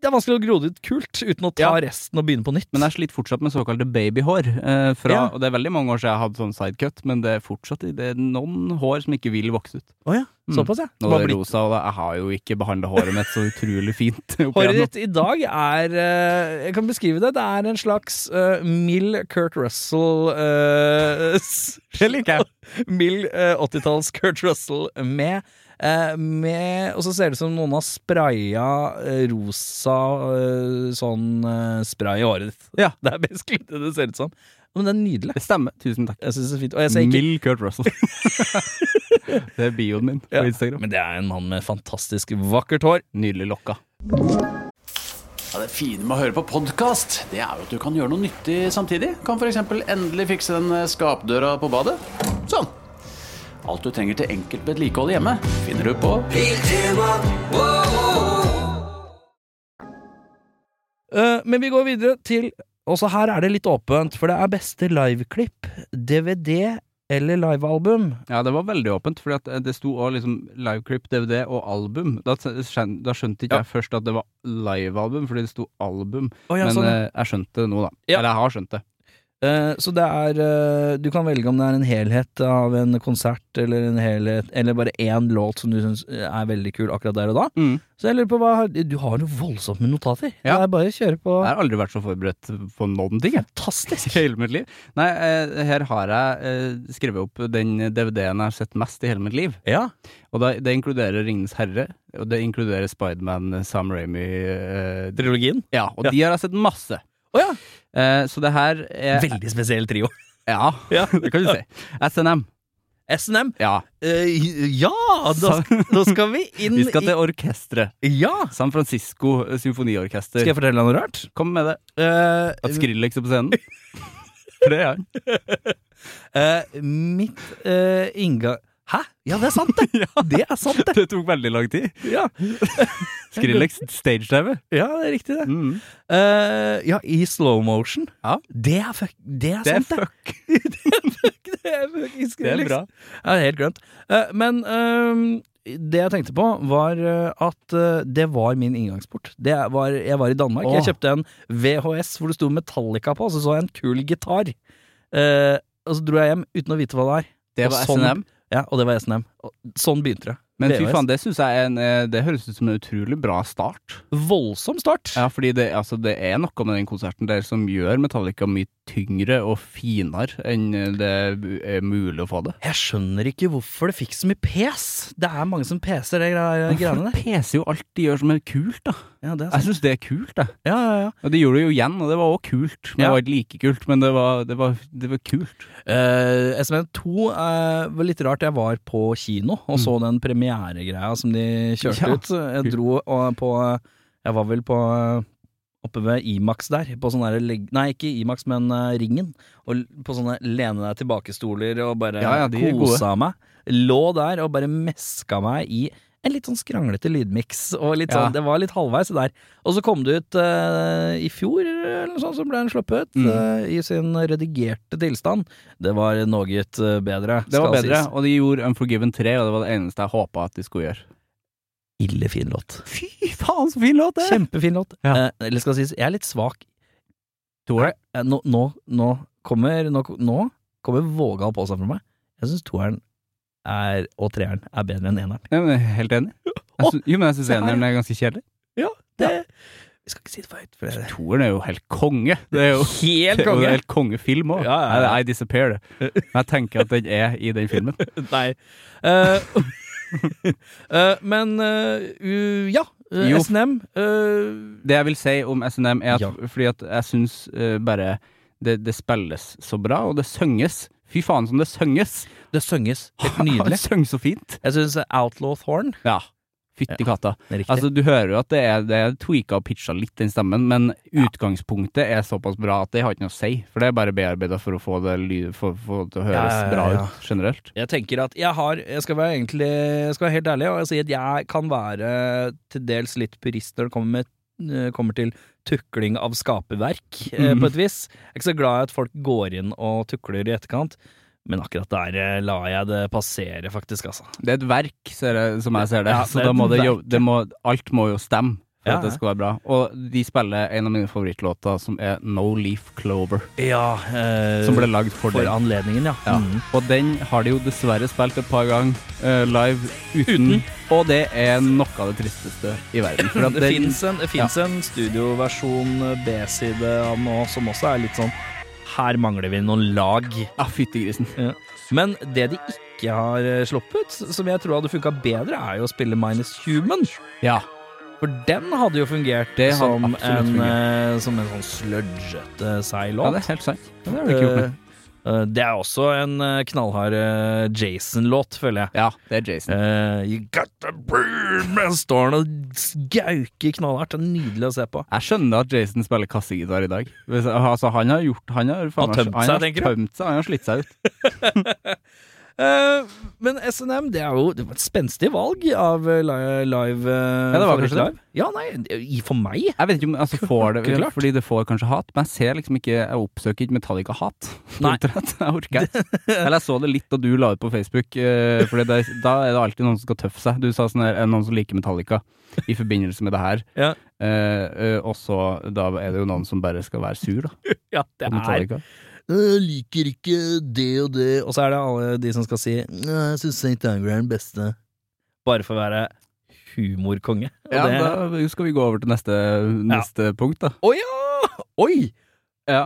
Speaker 3: Det er vanskelig å gro det ut kult uten å
Speaker 4: Ja.
Speaker 3: ta resten og begynne på nytt.
Speaker 4: Men jeg sliter fortsatt med såkalte babyhår. Eh, fra,
Speaker 3: Ja.
Speaker 4: Og det er veldig mange år siden jeg hadde sånn sidecut, men det er fortsatt det er noen hår som ikke vil vokse ut.
Speaker 3: Å ja,
Speaker 4: Mm.
Speaker 3: såpass, ja.
Speaker 4: Nå
Speaker 3: Bare
Speaker 4: er det
Speaker 3: bli-
Speaker 4: rosa, og jeg har jo ikke behandla håret mitt så utrolig fint. opp
Speaker 3: Håret
Speaker 4: igjennom.
Speaker 3: ditt i dag er eh, Jeg kan beskrive det. Det er en slags eh, mild Kurt Russell eh, s-
Speaker 4: Det liker jeg.
Speaker 3: Mild eh, 80-talls Kurt Russell med eh, med, og så ser det ut som noen har spraya eh, rosa eh, sånn eh, spray i håret ditt.
Speaker 4: Ja.
Speaker 3: Det er basically det det ser ut som. Men det er nydelig.
Speaker 4: Det stemmer. Tusen takk.
Speaker 3: Jeg synes det er fint. Og jeg ser ikke
Speaker 4: Mild Kurt Russell. det er bioen min på
Speaker 3: Ja,
Speaker 4: Instagram.
Speaker 3: Men det er en mann med fantastisk vakkert hår.
Speaker 4: Nydelig lokka.
Speaker 1: Ja, det fine med å høre på podkast, det er jo at du kan gjøre noe nyttig samtidig. Kan f.eks. endelig fikse den eh, skapdøra på badet. Sånn. Alt du trenger til enkelt vedlikehold hjemme, finner du på
Speaker 3: Eh, men vi går videre til Også her er det litt åpent, for det er beste liveklipp, DVD eller livealbum.
Speaker 4: Ja, det var veldig åpent, for det sto òg liksom liveclip, DVD og album. Da, skjøn, da skjønte ikke
Speaker 3: Ja.
Speaker 4: jeg først at det var livealbum, fordi det sto album.
Speaker 3: Å, ja,
Speaker 4: Men
Speaker 3: sånn, ja.
Speaker 4: eh, jeg skjønte det nå, da.
Speaker 3: Ja.
Speaker 4: Eller jeg har skjønt det.
Speaker 3: Eh, så det er eh, Du kan velge om det er en helhet av en konsert eller en helhet Eller bare én låt som du syns eh, er veldig kul akkurat der og da.
Speaker 4: Mm.
Speaker 3: Så jeg lurer på hva Du har jo voldsomt med notater.
Speaker 4: Ja.
Speaker 3: Det er bare å kjøre på.
Speaker 4: Jeg har aldri vært så forberedt på noen ting, jeg.
Speaker 3: Fantastisk.
Speaker 4: I hele mitt liv. Nei, eh, her har jeg eh, skrevet opp den DVD-en jeg har sett mest i hele mitt liv.
Speaker 3: Ja.
Speaker 4: Og da, det inkluderer Ringenes herre, og det inkluderer Spiderman, eh, Sam Ramy eh, dr-
Speaker 3: Trilogien.
Speaker 4: Ja, og
Speaker 3: Ja.
Speaker 4: de har jeg sett masse.
Speaker 3: Å ja.
Speaker 4: Eh, så det her er
Speaker 3: Veldig spesiell trio.
Speaker 4: Ja,
Speaker 3: Ja.
Speaker 4: det kan du si. SNM.
Speaker 3: SNM.
Speaker 4: Ja.
Speaker 3: Eh, ja! Da, sk- da skal vi inn
Speaker 4: Vi skal til orkesteret.
Speaker 3: i Ja!
Speaker 4: San Francisco Symfoniorkester.
Speaker 3: Skal jeg fortelle deg noe rart?
Speaker 4: Kom med det.
Speaker 3: Eh,
Speaker 4: At Skrillex er på scenen. For det er han.
Speaker 3: eh, mitt uh, inngang Hæ? Ja, det er sant, det! Det er sant, det!
Speaker 4: Det tok veldig lang tid.
Speaker 3: Ja,
Speaker 4: Skrillex stage-TV.
Speaker 3: ja det er riktig, det.
Speaker 4: Mm.
Speaker 3: Eh, ja, i slow motion.
Speaker 4: Ja.
Speaker 3: Det er fuck Det er
Speaker 4: Det er
Speaker 3: sant, det!
Speaker 4: fuck.
Speaker 3: Det er fucking
Speaker 4: Det er
Speaker 3: Skrillex.
Speaker 4: bra.
Speaker 3: Jeg har helt glemt. Eh, men ehm, det jeg tenkte på, var eh, at eh, det var min inngangsport. Det var, jeg var i Danmark.
Speaker 4: Åh.
Speaker 3: Jeg kjøpte en VHS hvor det sto Metallica på, og så så jeg en kul gitar. Eh, og så dro jeg hjem uten å vite hva det er.
Speaker 4: Det
Speaker 3: Og
Speaker 4: var
Speaker 3: sånn-
Speaker 4: SNM.
Speaker 3: Ja, Og det var SNM. Og sånn begynte det.
Speaker 4: Men fy
Speaker 3: VHS.
Speaker 4: faen, det synes jeg er en, eh, Det høres ut som en utrolig bra start.
Speaker 3: Voldsom start.
Speaker 4: Ja, fordi det, altså, det er noe med den konserten der som gjør Metallica mye tyngre og finere enn eh, det er mulig å få det.
Speaker 3: Jeg skjønner ikke hvorfor det fikk så mye pes. Det er mange som peser de gre- greiene der.
Speaker 4: peser jo alt de gjør som er kult, da.
Speaker 3: Ja, det er sant.
Speaker 4: Jeg syns det er kult, jeg.
Speaker 3: Ja, ja, ja.
Speaker 4: Og de gjorde det jo igjen, og det var også kult. Men
Speaker 3: Ja.
Speaker 4: det var ikke like kult, men det var, det var, det var kult.
Speaker 3: Eh, SMN2 eh, var litt rart. Jeg var på kino og så den premieregreia som de kjørte
Speaker 4: Mm. Ja.
Speaker 3: ut. Jeg dro og, på Jeg var vel på eh, Oppe ved Imax der, på sånne der leg... Nei, ikke Imax, men eh, Ringen. Og l- på sånne lene deg tilbake-stoler og bare
Speaker 4: Ja, ja, de er
Speaker 3: kosa meg. Lå der og bare meska meg i en litt sånn skranglete lydmiks. Og litt sånn,
Speaker 4: Ja.
Speaker 3: Det var litt halvveis der. Og så kom det ut eh, i fjor, eller noe sånt, så ble den sluppet.
Speaker 4: Mm.
Speaker 3: eh, I sin redigerte tilstand. Det var noe eh, bedre.
Speaker 4: Det var
Speaker 3: skal
Speaker 4: bedre,
Speaker 3: sies.
Speaker 4: og de gjorde Unforgiven 3, og det var det eneste jeg håpa at de skulle gjøre.
Speaker 3: Ille fin låt.
Speaker 4: Fy faen, så fin låt
Speaker 3: Kjempefin låt.
Speaker 4: Ja.
Speaker 3: Eh, eller skal sies, jeg er litt svak.
Speaker 4: Tror jeg.
Speaker 3: Eh, Nå, nå, nå kommer Nå, nå kommer vågal påstand fra meg. Jeg syns toeren er, og treeren er bedre enn eneren.
Speaker 4: Ja, men jeg er helt enig. Jeg syns- jo, men jeg syns
Speaker 3: se her.
Speaker 4: eneren er ganske kjedelig.
Speaker 3: Det, Vi skal ikke si det for høyt, for det
Speaker 4: Toeren er jo helt konge. Det er jo
Speaker 3: Helt
Speaker 4: Det er jo
Speaker 3: konge.
Speaker 4: en helt kongefilm òg.
Speaker 3: Ja, ja, ja.
Speaker 4: I, I disappear, det. Men jeg tenker at den er i den filmen.
Speaker 3: Nei. Eh, eh, men eh, u- ja. eh,
Speaker 4: Jo.
Speaker 3: SNM. eh,
Speaker 4: Det jeg vil si om SNM, er at,
Speaker 3: Ja.
Speaker 4: fordi at jeg syns bare det, det spilles så bra, og det synges. Fy faen som det synges!
Speaker 3: det synges helt
Speaker 4: Han
Speaker 3: nydelig.
Speaker 4: synger så fint.
Speaker 3: Jeg syns Outlaw Thorn
Speaker 4: Ja. Fytti katta.
Speaker 3: er riktig.
Speaker 4: Altså, du hører jo at det er, det er tweaka og pitcha litt, den stemmen, men utgangspunktet er såpass bra at det har ikke noe å si. For det er bare bearbeida for å få det ly- for, for det til å høres
Speaker 3: Ja, ja, ja, ja.
Speaker 4: bra ut generelt.
Speaker 3: jeg tenker at jeg har Jeg skal være, egentlig, jeg skal være helt ærlig og jeg sier at jeg kan være til dels litt purist når det kommer, med, eh, kommer til tukling av skaperverk, eh,
Speaker 4: Mhm.
Speaker 3: på et vis. Jeg er ikke så glad i at folk går inn og tukler i etterkant, men akkurat der eh, lar jeg det passere, faktisk, altså.
Speaker 4: Det er et verk, ser jeg, som jeg ser det.
Speaker 3: Ja, det
Speaker 4: så
Speaker 3: er
Speaker 4: da
Speaker 3: et
Speaker 4: må det,
Speaker 3: verk,
Speaker 4: jo, det må, alt må jo stemme for
Speaker 3: Ja,
Speaker 4: at det
Speaker 3: ja.
Speaker 4: skal være bra. Og de spiller en av mine favorittlåter, som er No Leaf Clover.
Speaker 3: Ja, eh,
Speaker 4: Som ble lagd for,
Speaker 3: for
Speaker 4: den.
Speaker 3: anledningen, ja.
Speaker 4: Ja.
Speaker 3: Mhm.
Speaker 4: Og den har de jo dessverre spilt et par ganger eh, live uten, Og det er noe av det tristeste i verden. For at
Speaker 3: Det
Speaker 4: den-
Speaker 3: fins en, det finnes en studioversjon eh, B-side av den også, som også er litt sånn Her mangler vi noen lag.
Speaker 4: Ja, Ah, fytti grisen.
Speaker 3: Men det de ikke har eh, sluppet, som jeg tror hadde funka bedre, er jo å spille Minus Human.
Speaker 4: Ja.
Speaker 3: For den hadde jo fungert
Speaker 4: Det hadde
Speaker 3: som, en,
Speaker 4: absolutt
Speaker 3: eh, som en sånn sludgete, seig
Speaker 4: ja,
Speaker 3: låt.
Speaker 4: det er helt sant. Ja, Det har de ikke gjort med.
Speaker 3: Eh, eh, det er også en eh, knallhard eh, Jason-låt, føler jeg.
Speaker 4: Ja, det er Jason.
Speaker 3: Eh, you got the burn Men står han og gauker knallhardt. Det er nydelig å se på.
Speaker 4: Jeg skjønner at Jason spiller kassegitar i dag. Hvis, altså, han har gjort Han har, faen,
Speaker 3: Han har tømt
Speaker 4: han
Speaker 3: seg,
Speaker 4: har
Speaker 3: tenker du?
Speaker 4: tømt seg, han har slitt seg ut.
Speaker 3: Eh, men SNM, det er jo det var et spenstig valg av eh, li- live eh,
Speaker 4: Ja, det var kanskje
Speaker 3: favorittlive. Ja, nei, i- for meg
Speaker 4: Jeg vet ikke om altså, får det,
Speaker 3: Ikke klart.
Speaker 4: Fordi det får kanskje hat, men jeg ser liksom ikke Jeg oppsøker ikke Metallica-hat. på
Speaker 3: Nei.
Speaker 4: internett. Jeg orker ikke. Eller jeg så det litt da du la ut på Facebook, eh, Fordi det, da er det alltid noen som skal tøffe seg. Du sa sånn her, er det noen som liker Metallica i forbindelse med det her.
Speaker 3: Ja.
Speaker 4: Eh, eh, og så da er det jo noen som bare skal være sur, da.
Speaker 3: Ja,
Speaker 4: På
Speaker 3: det er
Speaker 4: Metallica.
Speaker 3: Jeg Eh, liker ikke det og det Og så er det alle de som skal si «Nei, Jeg synes St. Anger er den beste Bare for å være humorkonge Og
Speaker 4: Ja,
Speaker 3: det-
Speaker 4: da skal vi gå over til neste, neste punkt, da.
Speaker 3: Å ja! Oi!
Speaker 4: Ja.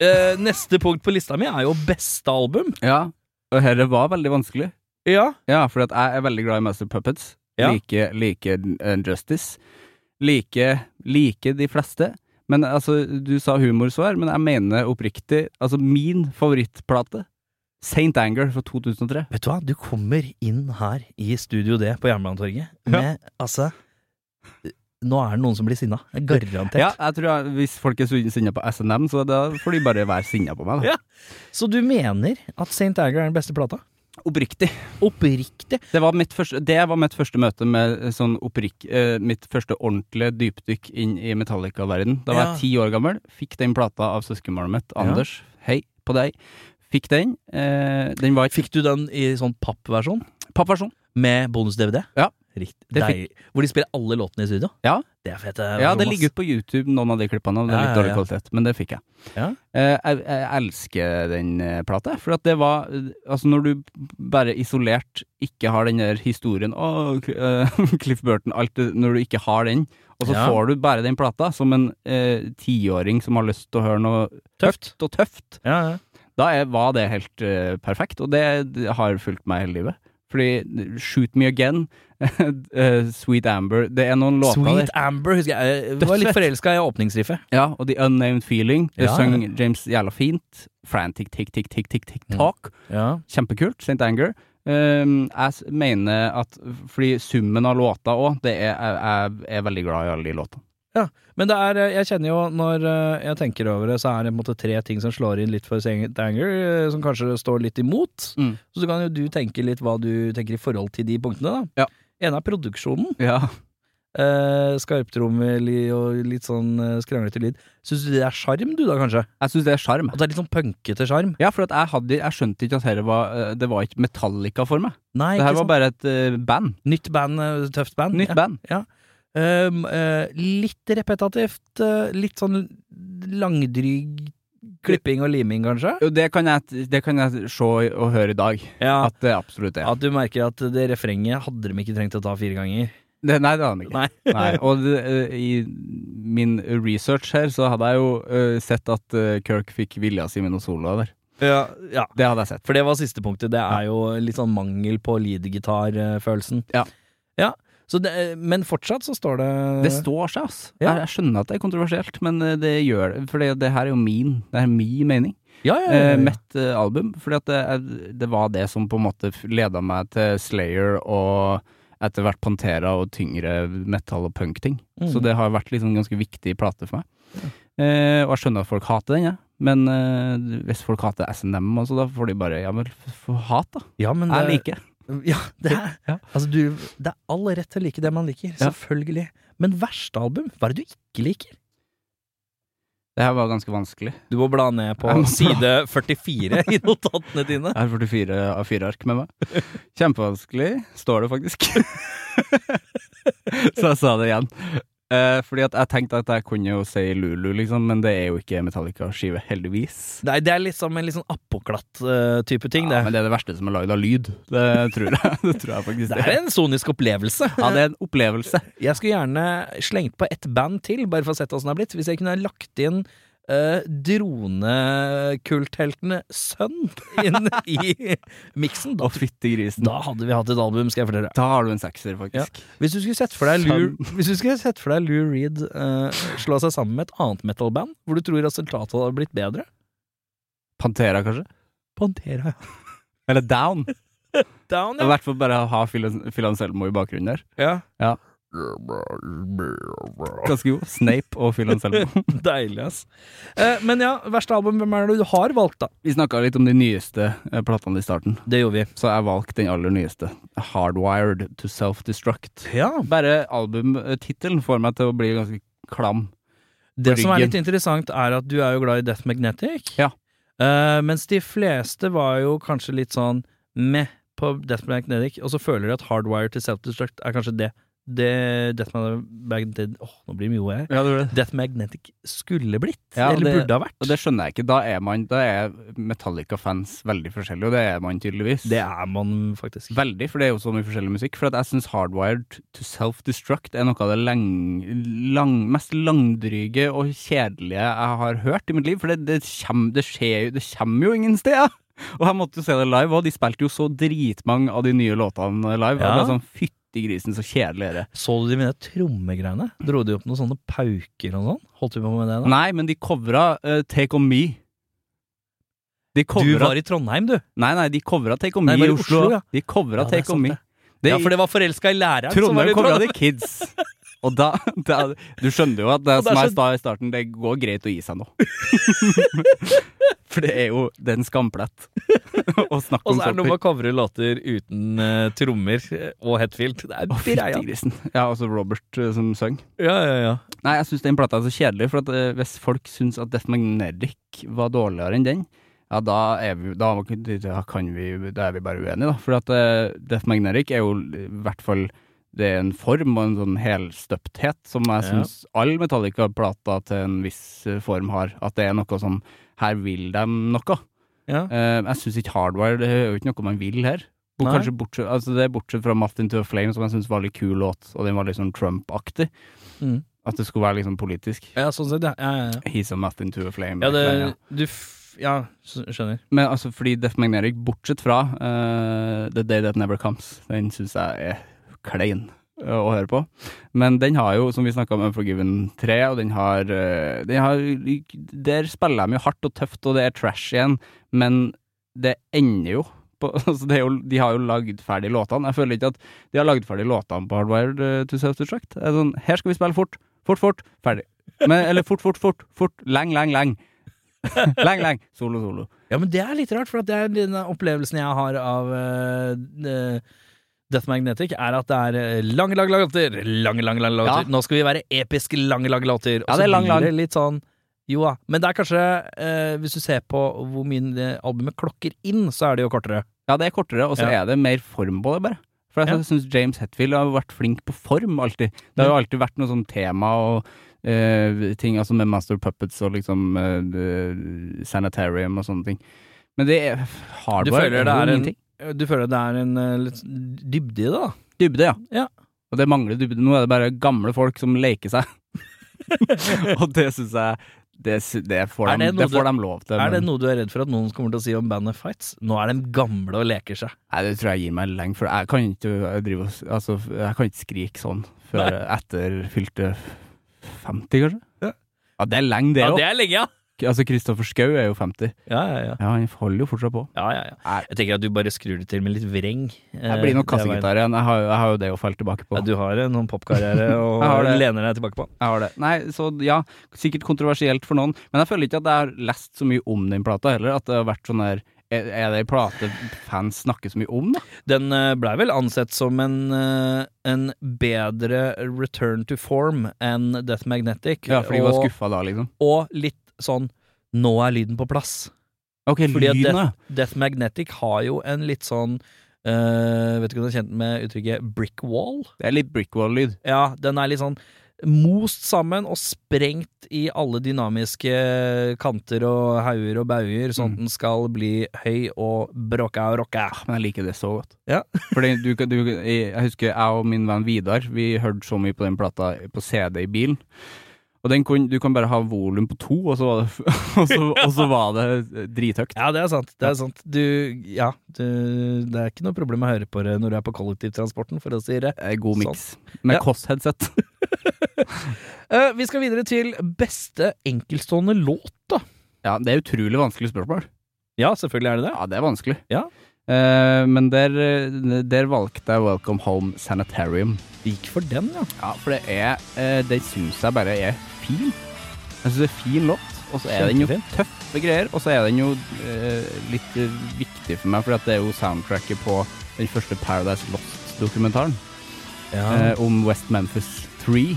Speaker 3: Eh, neste punkt på lista mi er jo beste album
Speaker 4: ja. Og dette var veldig vanskelig.
Speaker 3: Ja
Speaker 4: Ja, for at jeg er veldig glad i Master Puppets.
Speaker 3: Ja.
Speaker 4: Like, like eh, Justice. Like, like de fleste. Men altså, du sa humorsvar, men jeg mener oppriktig Altså, min favorittplate, St. Anger fra 2003.
Speaker 3: Vet du hva, du kommer inn her i Studio D på Jernbanetorget med altså Nå er det noen som blir sinna. Garantert.
Speaker 4: Ja, jeg tror jeg, Hvis folk er sin- sinna på SNM, så da får de bare være sinna på meg.
Speaker 3: Ja.
Speaker 4: Da.
Speaker 3: Så du mener at St. Anger er den beste plata?
Speaker 4: Oppriktig.
Speaker 3: Oppriktig.
Speaker 4: Det var mitt første, det var mitt første møte med eh, sånn opprikk... eh, mitt første ordentlige dypdykk inn i Metallica-verden. Da var
Speaker 3: Ja.
Speaker 4: jeg ti år gammel. Fikk den plata av søskenbarnet mitt, Anders. Hei på deg. Fikk den. Eh, den var
Speaker 3: Fikk du den i sånn pappversjon
Speaker 4: pappversjon.
Speaker 3: med bonus-DVD?
Speaker 4: Ja.
Speaker 3: Riktig.
Speaker 4: Det
Speaker 3: Deil- Hvor de spiller alle låtene i studio?
Speaker 4: Ja.
Speaker 3: Det er fete.
Speaker 4: Ja, det
Speaker 3: Jonas.
Speaker 4: ligger ute på YouTube, noen av de klippene, og det er
Speaker 3: Ja,
Speaker 4: litt
Speaker 3: ja,
Speaker 4: dårlig
Speaker 3: ja.
Speaker 4: kvalitet, men det fikk jeg.
Speaker 3: Ja.
Speaker 4: Eh, Jeg, jeg elsker den eh, plata, for at det var eh, Altså, når du bare isolert ikke har den der historien Å, Cl- eh, Cliff Burton, alt det Når du ikke har den, og så
Speaker 3: Ja.
Speaker 4: får du bare den plata som en eh, tiåring som har lyst til å høre noe
Speaker 3: Tøft.
Speaker 4: høyt og tøft,
Speaker 3: Ja, ja.
Speaker 4: da er, var det helt eh, perfekt, og det har fulgt meg hele livet. Fordi Shoot Me Again, eh, Sweet Amber Det er noen låter der.
Speaker 3: Sweet Amber, husker jeg. Jeg var litt
Speaker 4: Dødsfett.
Speaker 3: forelska i åpningsriffet.
Speaker 4: Ja, og The Unnamed Feeling. Det
Speaker 3: Ja.
Speaker 4: sang James jævla fint. Frantic tick, tick, tick, tick, tick,
Speaker 3: Mm.
Speaker 4: talk.
Speaker 3: Ja.
Speaker 4: Kjempekult. St. Anger. Ehm, jeg s- mener at Fordi summen av låta òg, det er jeg, jeg er veldig glad i alle de låtene.
Speaker 3: Men det er, eh, jeg kjenner jo, når eh, jeg tenker over det, så er det på en måte tre ting som slår inn litt for Saint Anger, eh, som kanskje står litt imot.
Speaker 4: Mm.
Speaker 3: Så kan jo du tenke litt hva du tenker i forhold til de punktene,
Speaker 4: Ja.
Speaker 3: da. En er produksjonen.
Speaker 4: Ja.
Speaker 3: Eh, Skarptrommel i- og litt sånn eh, skranglete lyd. Syns du det er sjarm, du da, kanskje?
Speaker 4: Jeg syns det er sjarm.
Speaker 3: At det er litt sånn punkete sjarm?
Speaker 4: Ja, for at jeg, hadde, jeg skjønte ikke at dette var eh, Det var ikke Metallica for meg.
Speaker 3: Nei,
Speaker 4: Det her var
Speaker 3: ikke sant?
Speaker 4: bare et eh, band.
Speaker 3: Nytt band, eh, tøft band.
Speaker 4: Nytt
Speaker 3: ja.
Speaker 4: band.
Speaker 3: Um, eh, litt repetativt. eh, litt sånn langdryg klipping og liming, kanskje?
Speaker 4: Og det kan jeg, det kan jeg se og høre i dag,
Speaker 3: Ja.
Speaker 4: at det absolutt er.
Speaker 3: At du merker at det refrenget hadde de ikke trengt å ta fire ganger.
Speaker 4: Det, nei, det aner jeg ikke.
Speaker 3: Nei.
Speaker 4: Nei, og det, eh, i min research her så hadde jeg jo eh, sett at eh, Kirk fikk vilja si med noe solo der.
Speaker 3: Ja, ja.
Speaker 4: Det hadde jeg sett.
Speaker 3: For det var siste punktet. Det er jo litt sånn mangel på leadgitar-følelsen.
Speaker 4: Ja.
Speaker 3: ja. Så det, men fortsatt så står det
Speaker 4: Det står seg, ass.
Speaker 3: Ja.
Speaker 4: Jeg, jeg skjønner at det er kontroversielt, men eh, det gjør det. For det, det her er jo min, det er min mening.
Speaker 3: ja, ja, ja,
Speaker 4: Eh,
Speaker 3: ja.
Speaker 4: Mitt eh, album. Fordi at det, er- det var det som på en måte leda meg til Slayer og etter hvert Pantera og tyngre metal- og punkting.
Speaker 3: Mm.
Speaker 4: Så det har vært liksom en ganske viktig plate for meg. Eh, og jeg skjønner at folk hater den, jeg. Men eh, hvis folk hater SNM, også, altså, da får de bare Ja vel, f- f- hat, da.
Speaker 3: ja, men
Speaker 4: Jeg
Speaker 3: det,
Speaker 4: liker.
Speaker 3: ja, det, er, altså du, det er all rett til å like det man liker.
Speaker 4: Ja.
Speaker 3: Selvfølgelig. Men verste album? Hva er det du ikke liker?
Speaker 4: Det her var ganske vanskelig.
Speaker 3: Du må bla ned på
Speaker 4: Jeg må bla.
Speaker 3: side 44 i notatene dine.
Speaker 4: Jeg har 44 av 4 eh, ark med meg. Kjempevanskelig, står det faktisk. Så jeg sa det igjen. Eh, fordi at jeg tenkte at jeg kunne jo si Lulu, liksom, men det er jo ikke Metallica-skive, heldigvis.
Speaker 3: Nei, det er liksom en litt sånn appoklatt eh, type ting,
Speaker 4: Ja,
Speaker 3: det.
Speaker 4: men det er det verste som er lagd av lyd. Det tror jeg, det tror jeg faktisk
Speaker 3: Det er en sonisk opplevelse.
Speaker 4: Ja, det er en opplevelse.
Speaker 3: Jeg skulle gjerne slengt på ett band til, bare for å sett åssen det har blitt. Hvis jeg kunne lagt inn uh, dronekultheltene Sønn inn i miksen, da,
Speaker 4: Å, fytti grisen. Da,
Speaker 3: da hadde vi hatt et album, skal jeg fortelle.
Speaker 4: har du en sekser, faktisk.
Speaker 3: Hvis du skulle sett for deg Lou, hvis du skulle sett for deg Lou Reed eh, slå seg sammen med et annet metalband, hvor du tror resultatet hadde blitt bedre
Speaker 4: Pantera, kanskje?
Speaker 3: Pantera, ja.
Speaker 4: Eller Down.
Speaker 3: Down,
Speaker 4: I
Speaker 3: ja.
Speaker 4: hvert fall bare ha Phil- Phil Anselmo i bakgrunnen der.
Speaker 3: ja.
Speaker 4: Ganske god. Snape og Phil Anselmo.
Speaker 3: Deilig, ass. Eh, men ja, verste album, hvem er det du har valgt, da?
Speaker 4: Vi snakka litt om de nyeste eh, platene i starten,
Speaker 3: Det gjorde vi.
Speaker 4: så jeg valgte den aller nyeste. Hardwired to Self-Destruct.
Speaker 3: Ja,
Speaker 4: Bare albumtittelen får meg til å bli ganske klam.
Speaker 3: Det som er
Speaker 4: ryggen.
Speaker 3: litt interessant, er at du er jo glad i Death Magnetic.
Speaker 4: Ja.
Speaker 3: Eh, mens de fleste var jo kanskje litt sånn meh på Death Magnetic, og så føler de at Hardwire til Self-Destruct er kanskje det. Det Death Magnetic Åh, nå blir det mye E. ord her.
Speaker 4: Ja, det det.
Speaker 3: Death Magnetic skulle blitt,
Speaker 4: Ja,
Speaker 3: eller
Speaker 4: det-
Speaker 3: burde ha vært.
Speaker 4: Og det skjønner jeg ikke. Da er, man, da er Metallica-fans veldig forskjellige, og det er man tydeligvis.
Speaker 3: Det er man faktisk.
Speaker 4: Veldig, for det er jo så mye forskjellig musikk. For at jeg syns Hardwired to Self-Destruct er noe av det lang, lang, mest langdryge og kjedelige jeg har hørt i mitt liv. For det, det, kjem, det, skjer, jo- det kommer jo ingen steder! Og jeg måtte jo se det live, og de spilte jo så dritmange av de nye låtene live. Og
Speaker 3: Ja.
Speaker 4: det er sånn fytti grisen, så kjedelig er det.
Speaker 3: Så du de mine trommegreiene? Dro de opp noen sånne pauker og sånn? Holdt du på med det da?
Speaker 4: Nei, men de covra eh, Take On Me. De
Speaker 3: Du
Speaker 4: covra
Speaker 3: var i Trondheim, du.
Speaker 4: Nei, nei, de covra Take On
Speaker 3: Nei,
Speaker 4: Me
Speaker 3: var
Speaker 4: i
Speaker 3: det
Speaker 4: Oslo.
Speaker 3: Oslo, ja.
Speaker 4: De covra
Speaker 3: Ja, det er
Speaker 4: Take On
Speaker 3: sant
Speaker 4: Me.
Speaker 3: det. ja, for det var forelska i læreren. som var
Speaker 4: Trondheim
Speaker 3: i
Speaker 4: covra
Speaker 3: Trondheim.
Speaker 4: The Kids. Og da, da Du skjønner jo at det,
Speaker 3: Og det
Speaker 4: som
Speaker 3: er
Speaker 4: jeg
Speaker 3: så-
Speaker 4: sa i starten, det går greit å gi seg nå. For det er jo det er en skamplett å snakke
Speaker 3: Og
Speaker 4: om
Speaker 3: så er det
Speaker 4: sånt.
Speaker 3: noe med å covre låter uten eh, trommer og Hetfield. Det er
Speaker 4: Å,
Speaker 3: greia.
Speaker 4: fytti grisen. Ja, altså Robert eh, som søng.
Speaker 3: Ja, ja, ja.
Speaker 4: Nei, jeg syns den plata er så kjedelig, for at, eh, hvis folk syns at Death Magnetic var dårligere enn den, ja, da er vi, da, da kan vi, da er vi bare uenige, da. For at eh, Death Magnetic er jo i hvert fall det er en form og en sånn helstøpthet som jeg
Speaker 3: Ja.
Speaker 4: syns alle Metallica-plata til en viss eh, form har. At det er noe sånn Her vil de noe.
Speaker 3: Ja.
Speaker 4: Eh, jeg syns ikke Hardwire det er jo ikke noe man vil her. Bo-
Speaker 3: Nei.
Speaker 4: Kanskje bortsett, altså det er bortsett fra Martin to a Flame, som jeg syns var litt kul låt, og den var litt sånn Trump-aktig.
Speaker 3: Mm.
Speaker 4: At det skulle være litt sånn politisk.
Speaker 3: ja, sånn sett, ja. Ja, ja, ja.
Speaker 4: He's a Martin to a Flame.
Speaker 3: ja det,
Speaker 4: et eller annet.
Speaker 3: du f Ja, s- skjønner.
Speaker 4: Men altså, fordi Death Magnetic, bortsett fra eh, The Day That Never Comes, den syns jeg er klein eh, å høre på. Men den har jo, som vi snakka om, Unforgiven 3, og den har, eh, den har Der spiller de jo hardt og tøft, og det er trash igjen, men det ender jo på, altså det er jo, De har jo lagd ferdig låtene. Jeg føler ikke at de har lagd ferdig låtene på Hardwired eh, to Self-Destruct. Det er Sånn, her skal vi spille fort, fort, fort, ferdig. Men, eller fort, fort, fort, fort, leng, leng, leng. leng, leng. Solo, solo.
Speaker 3: Ja, men det er litt rart, for at det er den opplevelsen jeg har av eh, eh, Death Magnetic, er at det er eh, lange, lange, lange låter. Lange, lange, lange låter.
Speaker 4: Ja.
Speaker 3: Nå skal vi være episk lange, lange låter. Og
Speaker 4: Ja,
Speaker 3: så
Speaker 4: det er lang,
Speaker 3: blir
Speaker 4: lang.
Speaker 3: det litt sånn Jo da. Men det er kanskje, eh, hvis du ser på hvor mye det albumet klokker inn, så er det jo kortere.
Speaker 4: Ja, det er kortere, og så
Speaker 3: Ja.
Speaker 4: er det mer form på det, bare. For jeg
Speaker 3: Ja.
Speaker 4: syns James Hetfield har vært flink på form, alltid. Det har
Speaker 3: Mm.
Speaker 4: jo alltid vært noe sånn tema og eh, ting, altså med Master Puppets og liksom eh, det- Sanitarium og sånne ting. Men det er
Speaker 3: Du
Speaker 4: hardware.
Speaker 3: føler, det
Speaker 4: jo
Speaker 3: er en,
Speaker 4: ingenting.
Speaker 3: du føler det er en eh, litt dybde i det, da?
Speaker 4: Dybde, ja.
Speaker 3: Ja.
Speaker 4: Og det mangler dybde. Nå er det bare gamle folk som leker seg. og det syns jeg det, sy- det, får
Speaker 3: Er
Speaker 4: dem-
Speaker 3: det noe
Speaker 4: det får
Speaker 3: du-
Speaker 4: dem lov til.
Speaker 3: Er det
Speaker 4: men-
Speaker 3: noe du er redd for at noen kommer til å si om bandet Fights? Nå er de gamle og leker seg.
Speaker 4: Nei, det tror jeg gir meg lenge, for jeg kan ikke drive og s- Altså, jeg kan ikke skrike sånn før etter fylte 50, kanskje?
Speaker 3: Ja.
Speaker 4: Ja, det er lenge, det
Speaker 3: ja,
Speaker 4: òg.
Speaker 3: det er lenge, ja!
Speaker 4: Altså, Kristoffer Schou er jo 50.
Speaker 3: Ja, ja, ja.
Speaker 4: Ja, han holder jo fortsatt på.
Speaker 3: Ja, ja, ja.
Speaker 4: Nei.
Speaker 3: Jeg tenker at du bare skrur det til med litt vreng. Eh,
Speaker 4: Jeg blir nok kassegitar igjen. Jeg har, jo- jeg har jo det å falle tilbake på.
Speaker 3: Ja, du har en sånn popkarriere og
Speaker 4: Jeg har det.
Speaker 3: lener deg tilbake på.
Speaker 4: Jeg har det. Nei, så ja, sikkert kontroversielt for noen, men jeg føler ikke at jeg har lest så mye om den plata heller. At det har vært sånn der Er er det ei plate fans snakker så mye om, da?
Speaker 3: Den eh, ble vel ansett som en, eh, en bedre return to form enn Death Magnetic.
Speaker 4: Ja, fordi de var
Speaker 3: og,
Speaker 4: skuffa da, liksom.
Speaker 3: og litt sånn Nå er lyden på plass.
Speaker 4: Ok,
Speaker 3: Fordi at
Speaker 4: lyden,
Speaker 3: Death,
Speaker 4: ja.
Speaker 3: Death Magnetic har jo en litt sånn eh, Vet ikke om du er kjent med uttrykket brick wall?
Speaker 4: Det er litt Brickwall-lyd.
Speaker 3: Ja, den er litt sånn most sammen og sprengt i alle dynamiske kanter og hauger og bauger, sånn at den skal bli høy og bråka og rocka.
Speaker 4: Ah, Men jeg liker det så godt.
Speaker 3: Ja.
Speaker 4: Fordi du, kan- du, jeg jeg husker jeg og min venn Vidar, vi hørte så mye på den plata på CD i bilen. Og den kun, du kan bare ha volum på to, og så var det, f- og så, og så var det drithøyt.
Speaker 3: Ja, det er sant. Det er sant. Du, ja, du, det er ikke noe problem å høre på det når du er på kollektivtransporten, for å si det.
Speaker 4: Eh, God miks. Med
Speaker 3: Ja.
Speaker 4: Koss-headset.
Speaker 3: Eh, vi skal videre til beste enkeltstående låt, da.
Speaker 4: Ja, det er utrolig vanskelig spørsmål.
Speaker 3: Ja, selvfølgelig er det det.
Speaker 4: Ja, det er vanskelig.
Speaker 3: Ja.
Speaker 4: Eh, men der, eh, der valgte jeg Welcome Home Sanitarium.
Speaker 3: Gikk for den, ja.
Speaker 4: Ja, for det er eh, Det syns jeg bare er fin. Jeg syns det er fin låt, og så er den jo
Speaker 3: Kjempefin.
Speaker 4: tøffe greier. Og så er den jo eh, litt eh, viktig for meg, for det er jo soundtracket på den første Paradise Lost-dokumentaren
Speaker 3: Ja. Mhm.
Speaker 4: eh, om West Memphis 3,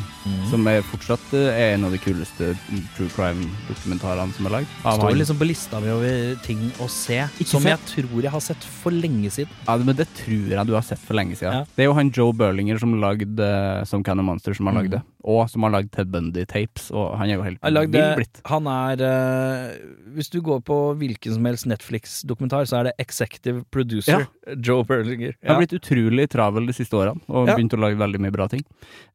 Speaker 4: som er fortsatt eh, er en av de kuleste mm, true crime-dokumentarene som er lagd. Av
Speaker 3: Står
Speaker 4: han.
Speaker 3: liksom på lista mi over ting å se, som jeg tror jeg har sett for lenge siden.
Speaker 4: Ja, men det tror jeg du har sett for lenge siden.
Speaker 3: Ja.
Speaker 4: Det er jo han Joe Berlinger som lagde eh, Some Kind of Monster, som har lagd det. Og som har lagd Ted Bundy-tapes, og han er jo helt
Speaker 3: Mhm. Han lagde,
Speaker 4: vill blitt.
Speaker 3: han er eh, Hvis du går på hvilken som helst Netflix-dokumentar, så er det executive producer Joe Berlinger.
Speaker 4: Jeg har
Speaker 3: Ja.
Speaker 4: blitt utrolig travel de siste årene, og
Speaker 3: Ja.
Speaker 4: begynt å lage veldig mye bra ting.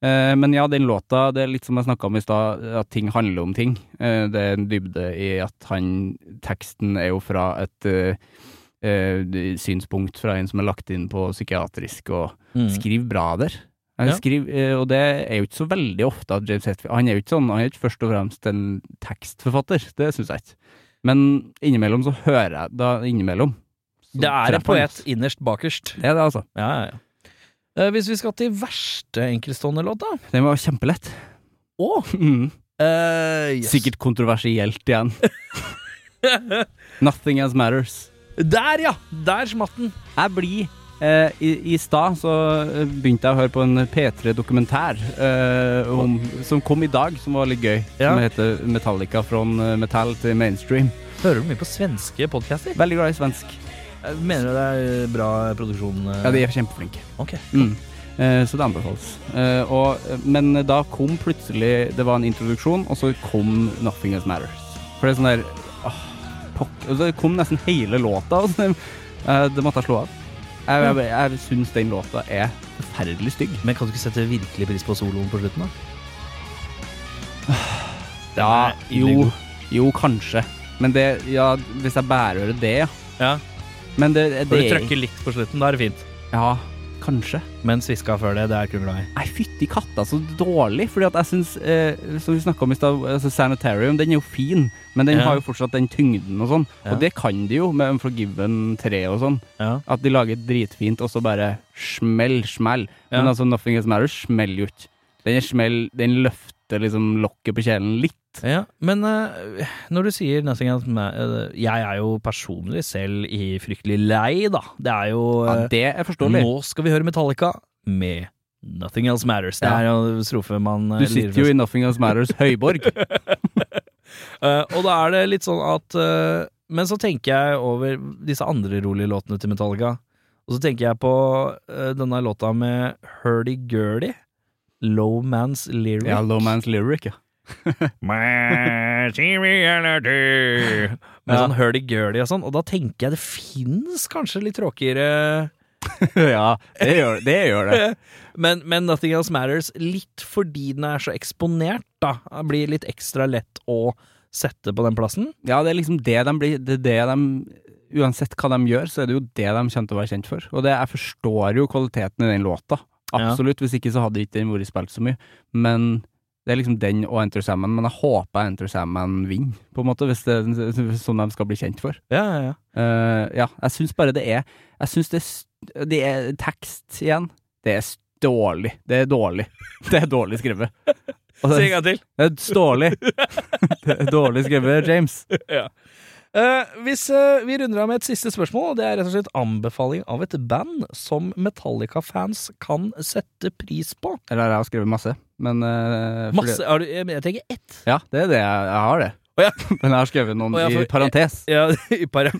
Speaker 4: Eh, men ja, den låta, det er litt som jeg snakka om i stad, at ting handler om ting. Eh, det er en dybde i at han Teksten er jo fra et eh, eh, synspunkt fra en som er lagt inn på psykiatrisk, og
Speaker 3: Mm.
Speaker 4: skriv bra der. Han
Speaker 3: Ja.
Speaker 4: skriver, eh, og det er jo ikke så veldig ofte at James Hetfield Han er jo ikke sånn, han er ikke først og fremst en tekstforfatter, det syns jeg ikke. Men innimellom så hører jeg da innimellom. så
Speaker 3: Det er en
Speaker 4: treffer han.
Speaker 3: poet innerst bakerst.
Speaker 4: Det er det, altså.
Speaker 3: Ja, ja, ja. Eh, hvis vi skal til verste enkeltstående låt, da?
Speaker 4: Den var kjempelett. Mm.
Speaker 3: Eh, yes.
Speaker 4: Sikkert kontroversielt igjen. Nothing else matters.
Speaker 3: Der, ja! Der smatt den.
Speaker 4: Jeg blir eh, I, i stad så eh, begynte jeg å høre på en P3-dokumentær eh, om, som kom i dag, som var litt gøy.
Speaker 3: Ja.
Speaker 4: Som heter Metallica fra metall til mainstream.
Speaker 3: Hører du mye på svenske podcaster?
Speaker 4: Veldig glad i svensk.
Speaker 3: Jeg Mener du det er eh, bra produksjon? eh?
Speaker 4: Ja, de er kjempeflinke.
Speaker 3: Ok.
Speaker 4: Mm. Eh, Eh, Så det anbefales. Eh, og, men da kom plutselig Det var en introduksjon, og så kom 'Nothing Else Matters'. For det er sånn der åh, pok- og Det kom nesten hele låta. Og sånn, eh, det måtte jeg slå av. Jeg, jeg, jeg syns den låta er forferdelig stygg.
Speaker 3: Men kan du ikke sette virkelig pris på soloen på slutten, da?
Speaker 4: Ja,
Speaker 3: Den er ille
Speaker 4: jo,
Speaker 3: god.
Speaker 4: jo, kanskje. Men det Ja, hvis jeg bare hører det, ja.
Speaker 3: Ja,
Speaker 4: Men det,
Speaker 3: For du
Speaker 4: det
Speaker 3: trykker litt på slutten, da er det fint.
Speaker 4: Ja, kanskje.
Speaker 3: Men sviska før det, det er kun glad i.
Speaker 4: Nei, fytti katta, så dårlig. Fordi at jeg syns, eh, som vi snakka om i stad, altså Sanitarium, den er jo fin, men den
Speaker 3: Ja.
Speaker 4: har jo fortsatt den tyngden og sånn.
Speaker 3: Ja.
Speaker 4: Og det kan de jo med Unforgiven 3 og sånn.
Speaker 3: Ja.
Speaker 4: At de lager dritfint, og så bare smell, smell. Men
Speaker 3: Ja.
Speaker 4: altså Nothing Else Matters smeller jo ikke. Den er smell, den løfter liksom lokket på kjelen litt.
Speaker 3: Ja, men eh, når du sier Nothing Else Ma- eh, Jeg er jo personlig selv i fryktelig lei, da. Det er jo
Speaker 4: Ja,
Speaker 3: eh,
Speaker 4: det er forståelig.
Speaker 3: Nå skal vi høre Metallica med Nothing Else Matters. Det
Speaker 4: Ja.
Speaker 3: er jo en strofe man eh,
Speaker 4: Du sitter jo i Nothing Else Matters høyborg.
Speaker 3: Eh, og da er det litt sånn at eh, Men så tenker jeg over disse andre rolige låtene til Metallica. Og så tenker jeg på eh, denne låta med Hurdy Gurdy. Low Man's Lyric.
Speaker 4: ja, Low Man's Lyric, ja.
Speaker 3: Med sånn Hurdy Gurdy og sånn. Og da tenker jeg det fins kanskje litt tråkigere
Speaker 4: ja, det gjør det. Gjør det.
Speaker 3: men, men Nothing Else Matters, litt fordi den er så eksponert, da, blir litt ekstra lett å sette på den plassen.
Speaker 4: Ja, det er liksom det de blir det er det de, Uansett hva de gjør, så er det jo det de kommer til å være kjent for. Og det, jeg forstår jo kvaliteten i den låta. Absolutt. Hvis ikke så hadde ikke den vært spilt så mye. Men det er liksom den og Enter Salmon. Men jeg håper Enter Salmon vinner, på en måte, hvis det er sånn de skal bli kjent for.
Speaker 3: Ja, ja, ja.
Speaker 4: Eh, ja, jeg syns bare det er Jeg syns det, er st- det er tekst igjen. Det er s- dårlig. Det er dårlig. Det er dårlig skrevet. Og det, er-
Speaker 3: gang til.
Speaker 4: det er dårlig. Det er dårlig skrevet, James.
Speaker 3: Eh, hvis eh, Vi runder av med et siste spørsmål. og Det er rett og slett anbefaling av et band som Metallica-fans kan sette pris på.
Speaker 4: Eller jeg har skrevet masse, men eh, fordi-
Speaker 3: Masse, har du, jeg jeg tenker ett.
Speaker 4: Ja, det er det. Jeg, jeg har det.
Speaker 3: Å ja.
Speaker 4: Men jeg har skrevet noen
Speaker 3: Å ja, for-
Speaker 4: i parentes.
Speaker 3: Ja, i par.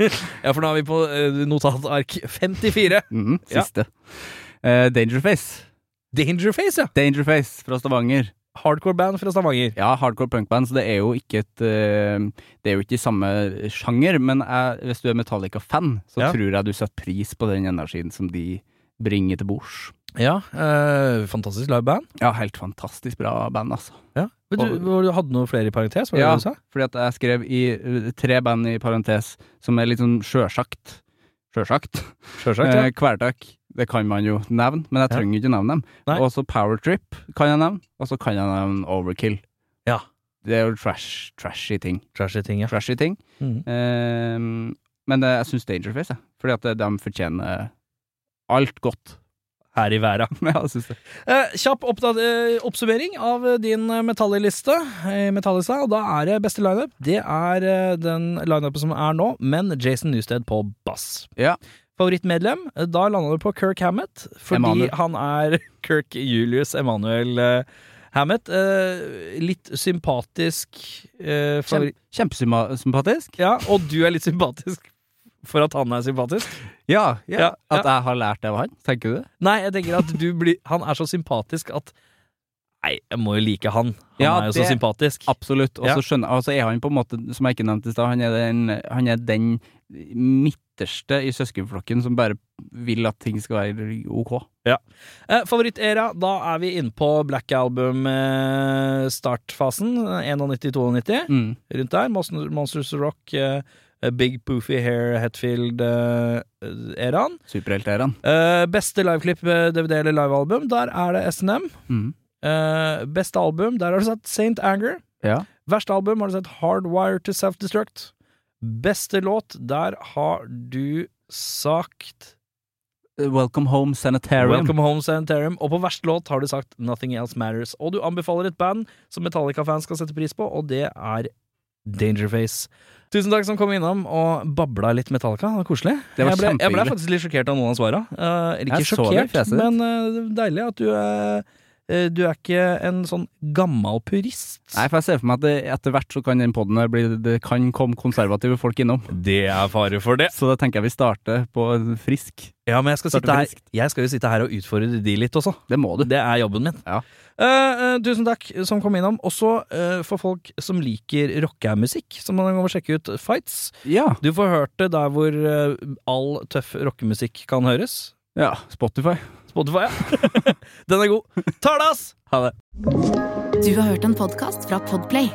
Speaker 3: ja, for nå er vi på eh, notatark 54.
Speaker 4: Mhm,
Speaker 3: Ja.
Speaker 4: siste. Eh, Dangerface.
Speaker 3: Dangerface, ja.
Speaker 4: Dangerface fra Stavanger.
Speaker 3: Hardcore band fra Stavanger.
Speaker 4: Ja, hardcore punkband, så det er jo ikke et eh, Det er jo ikke i samme sjanger, men jeg, hvis du er Metallica-fan, så
Speaker 3: Ja.
Speaker 4: tror jeg du setter pris på den energien som de bringer til bords.
Speaker 3: Ja, eh, Fantastisk live band.
Speaker 4: Ja, helt fantastisk bra band, altså.
Speaker 3: Ja. Men du, du hadde noe flere i parentes? Var det
Speaker 4: Ja,
Speaker 3: det du sa?
Speaker 4: fordi at jeg skrev i eh, tre band i parentes som er litt sånn sjøsagt. Sjøsagt?
Speaker 3: Sjølsagt.
Speaker 4: Eh, Kvelertak, det kan man jo nevne, men jeg
Speaker 3: Ja.
Speaker 4: trenger ikke nevne dem.
Speaker 3: Nei.
Speaker 4: Og så Powertrip kan jeg nevne, og så kan jeg nevne Overkill.
Speaker 3: Ja.
Speaker 4: Det er jo trash, trashy ting.
Speaker 3: Trashy ting, ja.
Speaker 4: Trashy ting.
Speaker 3: Mhm.
Speaker 4: Eh, men eh, jeg syns Dangerface, jeg. Fordi at eh, de fortjener alt godt.
Speaker 3: Her i verda.
Speaker 4: ja, jeg synes det.
Speaker 3: Eh, kjapp oppda- eh, oppsummering av eh, din eh, metalliliste. Eh, metallista, og da er det beste lineup. Det er eh, den lineupen som er nå, men Jason Newsted på bass.
Speaker 4: Ja.
Speaker 3: Favorittmedlem? Eh, Da landa du på Kirk Hammett, fordi
Speaker 4: Emanuel.
Speaker 3: han er Kirk Julius Emanuel eh, Hammett. Eh, litt sympatisk eh,
Speaker 4: Kjem,
Speaker 3: favoritt...
Speaker 4: Kjempesympatisk.
Speaker 3: Ja, og du er litt sympatisk for at han er sympatisk?
Speaker 4: Ja, ja,
Speaker 3: Ja,
Speaker 4: At jeg har lært det av han, tenker du det?
Speaker 3: Nei, jeg tenker at du blir Han er så sympatisk at Nei, jeg må jo like han. Han
Speaker 4: Ja,
Speaker 3: er jo så
Speaker 4: det-
Speaker 3: sympatisk.
Speaker 4: Absolutt. Og så
Speaker 3: Ja.
Speaker 4: skjønner Og så er han på en måte, som jeg ikke nevnte i stad, han, er den- han er den midterste i søskenflokken som bare vil at ting skal være ok.
Speaker 3: Eh, Favorittera, da er vi inne på Black eh, Album-startfasen. 91-92,
Speaker 4: Mm.
Speaker 3: rundt der. Monster- Monsters of Rock, eh, Big Poofy Hair Hetfield-eraen.
Speaker 4: Superheltæren.
Speaker 3: beste liveklipp, eh, DVD eller livealbum, der er det SNM.
Speaker 4: Mm.
Speaker 3: Eh, beste album, der har du sett Saint Anger.
Speaker 4: Ja.
Speaker 3: Verste album har du sett Hardwire to Self-Destruct. Beste låt, der har du sagt
Speaker 4: Eh, Welcome Home Sanitarium.
Speaker 3: Welcome Home Sanitarium. Og på verste låt har du sagt Nothing Else Matters. Og du anbefaler et band som Metallica-fans skal sette pris på, og det er Dangerface. Tusen takk som kom innom og babla litt Metallica. Det var koselig.
Speaker 4: Det var
Speaker 3: jeg, ble, jeg ble
Speaker 4: kjempehyggelig.
Speaker 3: faktisk litt sjokkert av noen av svara. Eh, eller
Speaker 4: Jeg så
Speaker 3: ikke
Speaker 4: det i
Speaker 3: sjokkert,
Speaker 4: fjeset ditt.
Speaker 3: men eh, deilig at du eh, eh, du er ikke en sånn gammel purist.
Speaker 4: Nei, for jeg ser for meg at det, etter hvert så kan den podden her bli Det kan komme konservative folk innom.
Speaker 3: Det er fare for det.
Speaker 4: Så da tenker jeg vi starter på en frisk.
Speaker 3: Ja, men jeg skal,
Speaker 4: Starte
Speaker 3: sitte her,
Speaker 4: friskt.
Speaker 3: jeg skal jo sitte her og utfordre de litt også.
Speaker 4: Det må du.
Speaker 3: Det er jobben min.
Speaker 4: Ja.
Speaker 3: Eh, eh, tusen takk som kom innom. Også eh, for folk som liker rockemusikk, så må man gå og sjekke ut Fights.
Speaker 4: Ja.
Speaker 3: Du får hørt det der hvor eh, all tøff rockemusikk kan høres.
Speaker 4: ja. Spotify.
Speaker 3: Spotify, ja. Den er god. Talas! Ha det.
Speaker 2: Du har hørt en podcast fra Podplay.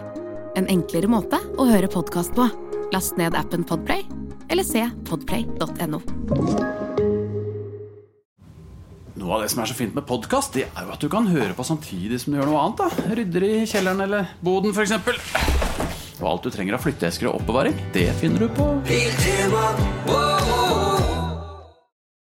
Speaker 2: En enklere måte å høre podcast på. Last ned appen Podplay, eller se podplay.no.
Speaker 1: Noe av det som er så fint med podkast, det er jo at du kan høre på samtidig som du gjør noe annet. da Rydder i kjelleren eller boden, f.eks. Og alt du trenger av flytteesker og oppbevaring, det finner du på
Speaker 5: Biltema, wow.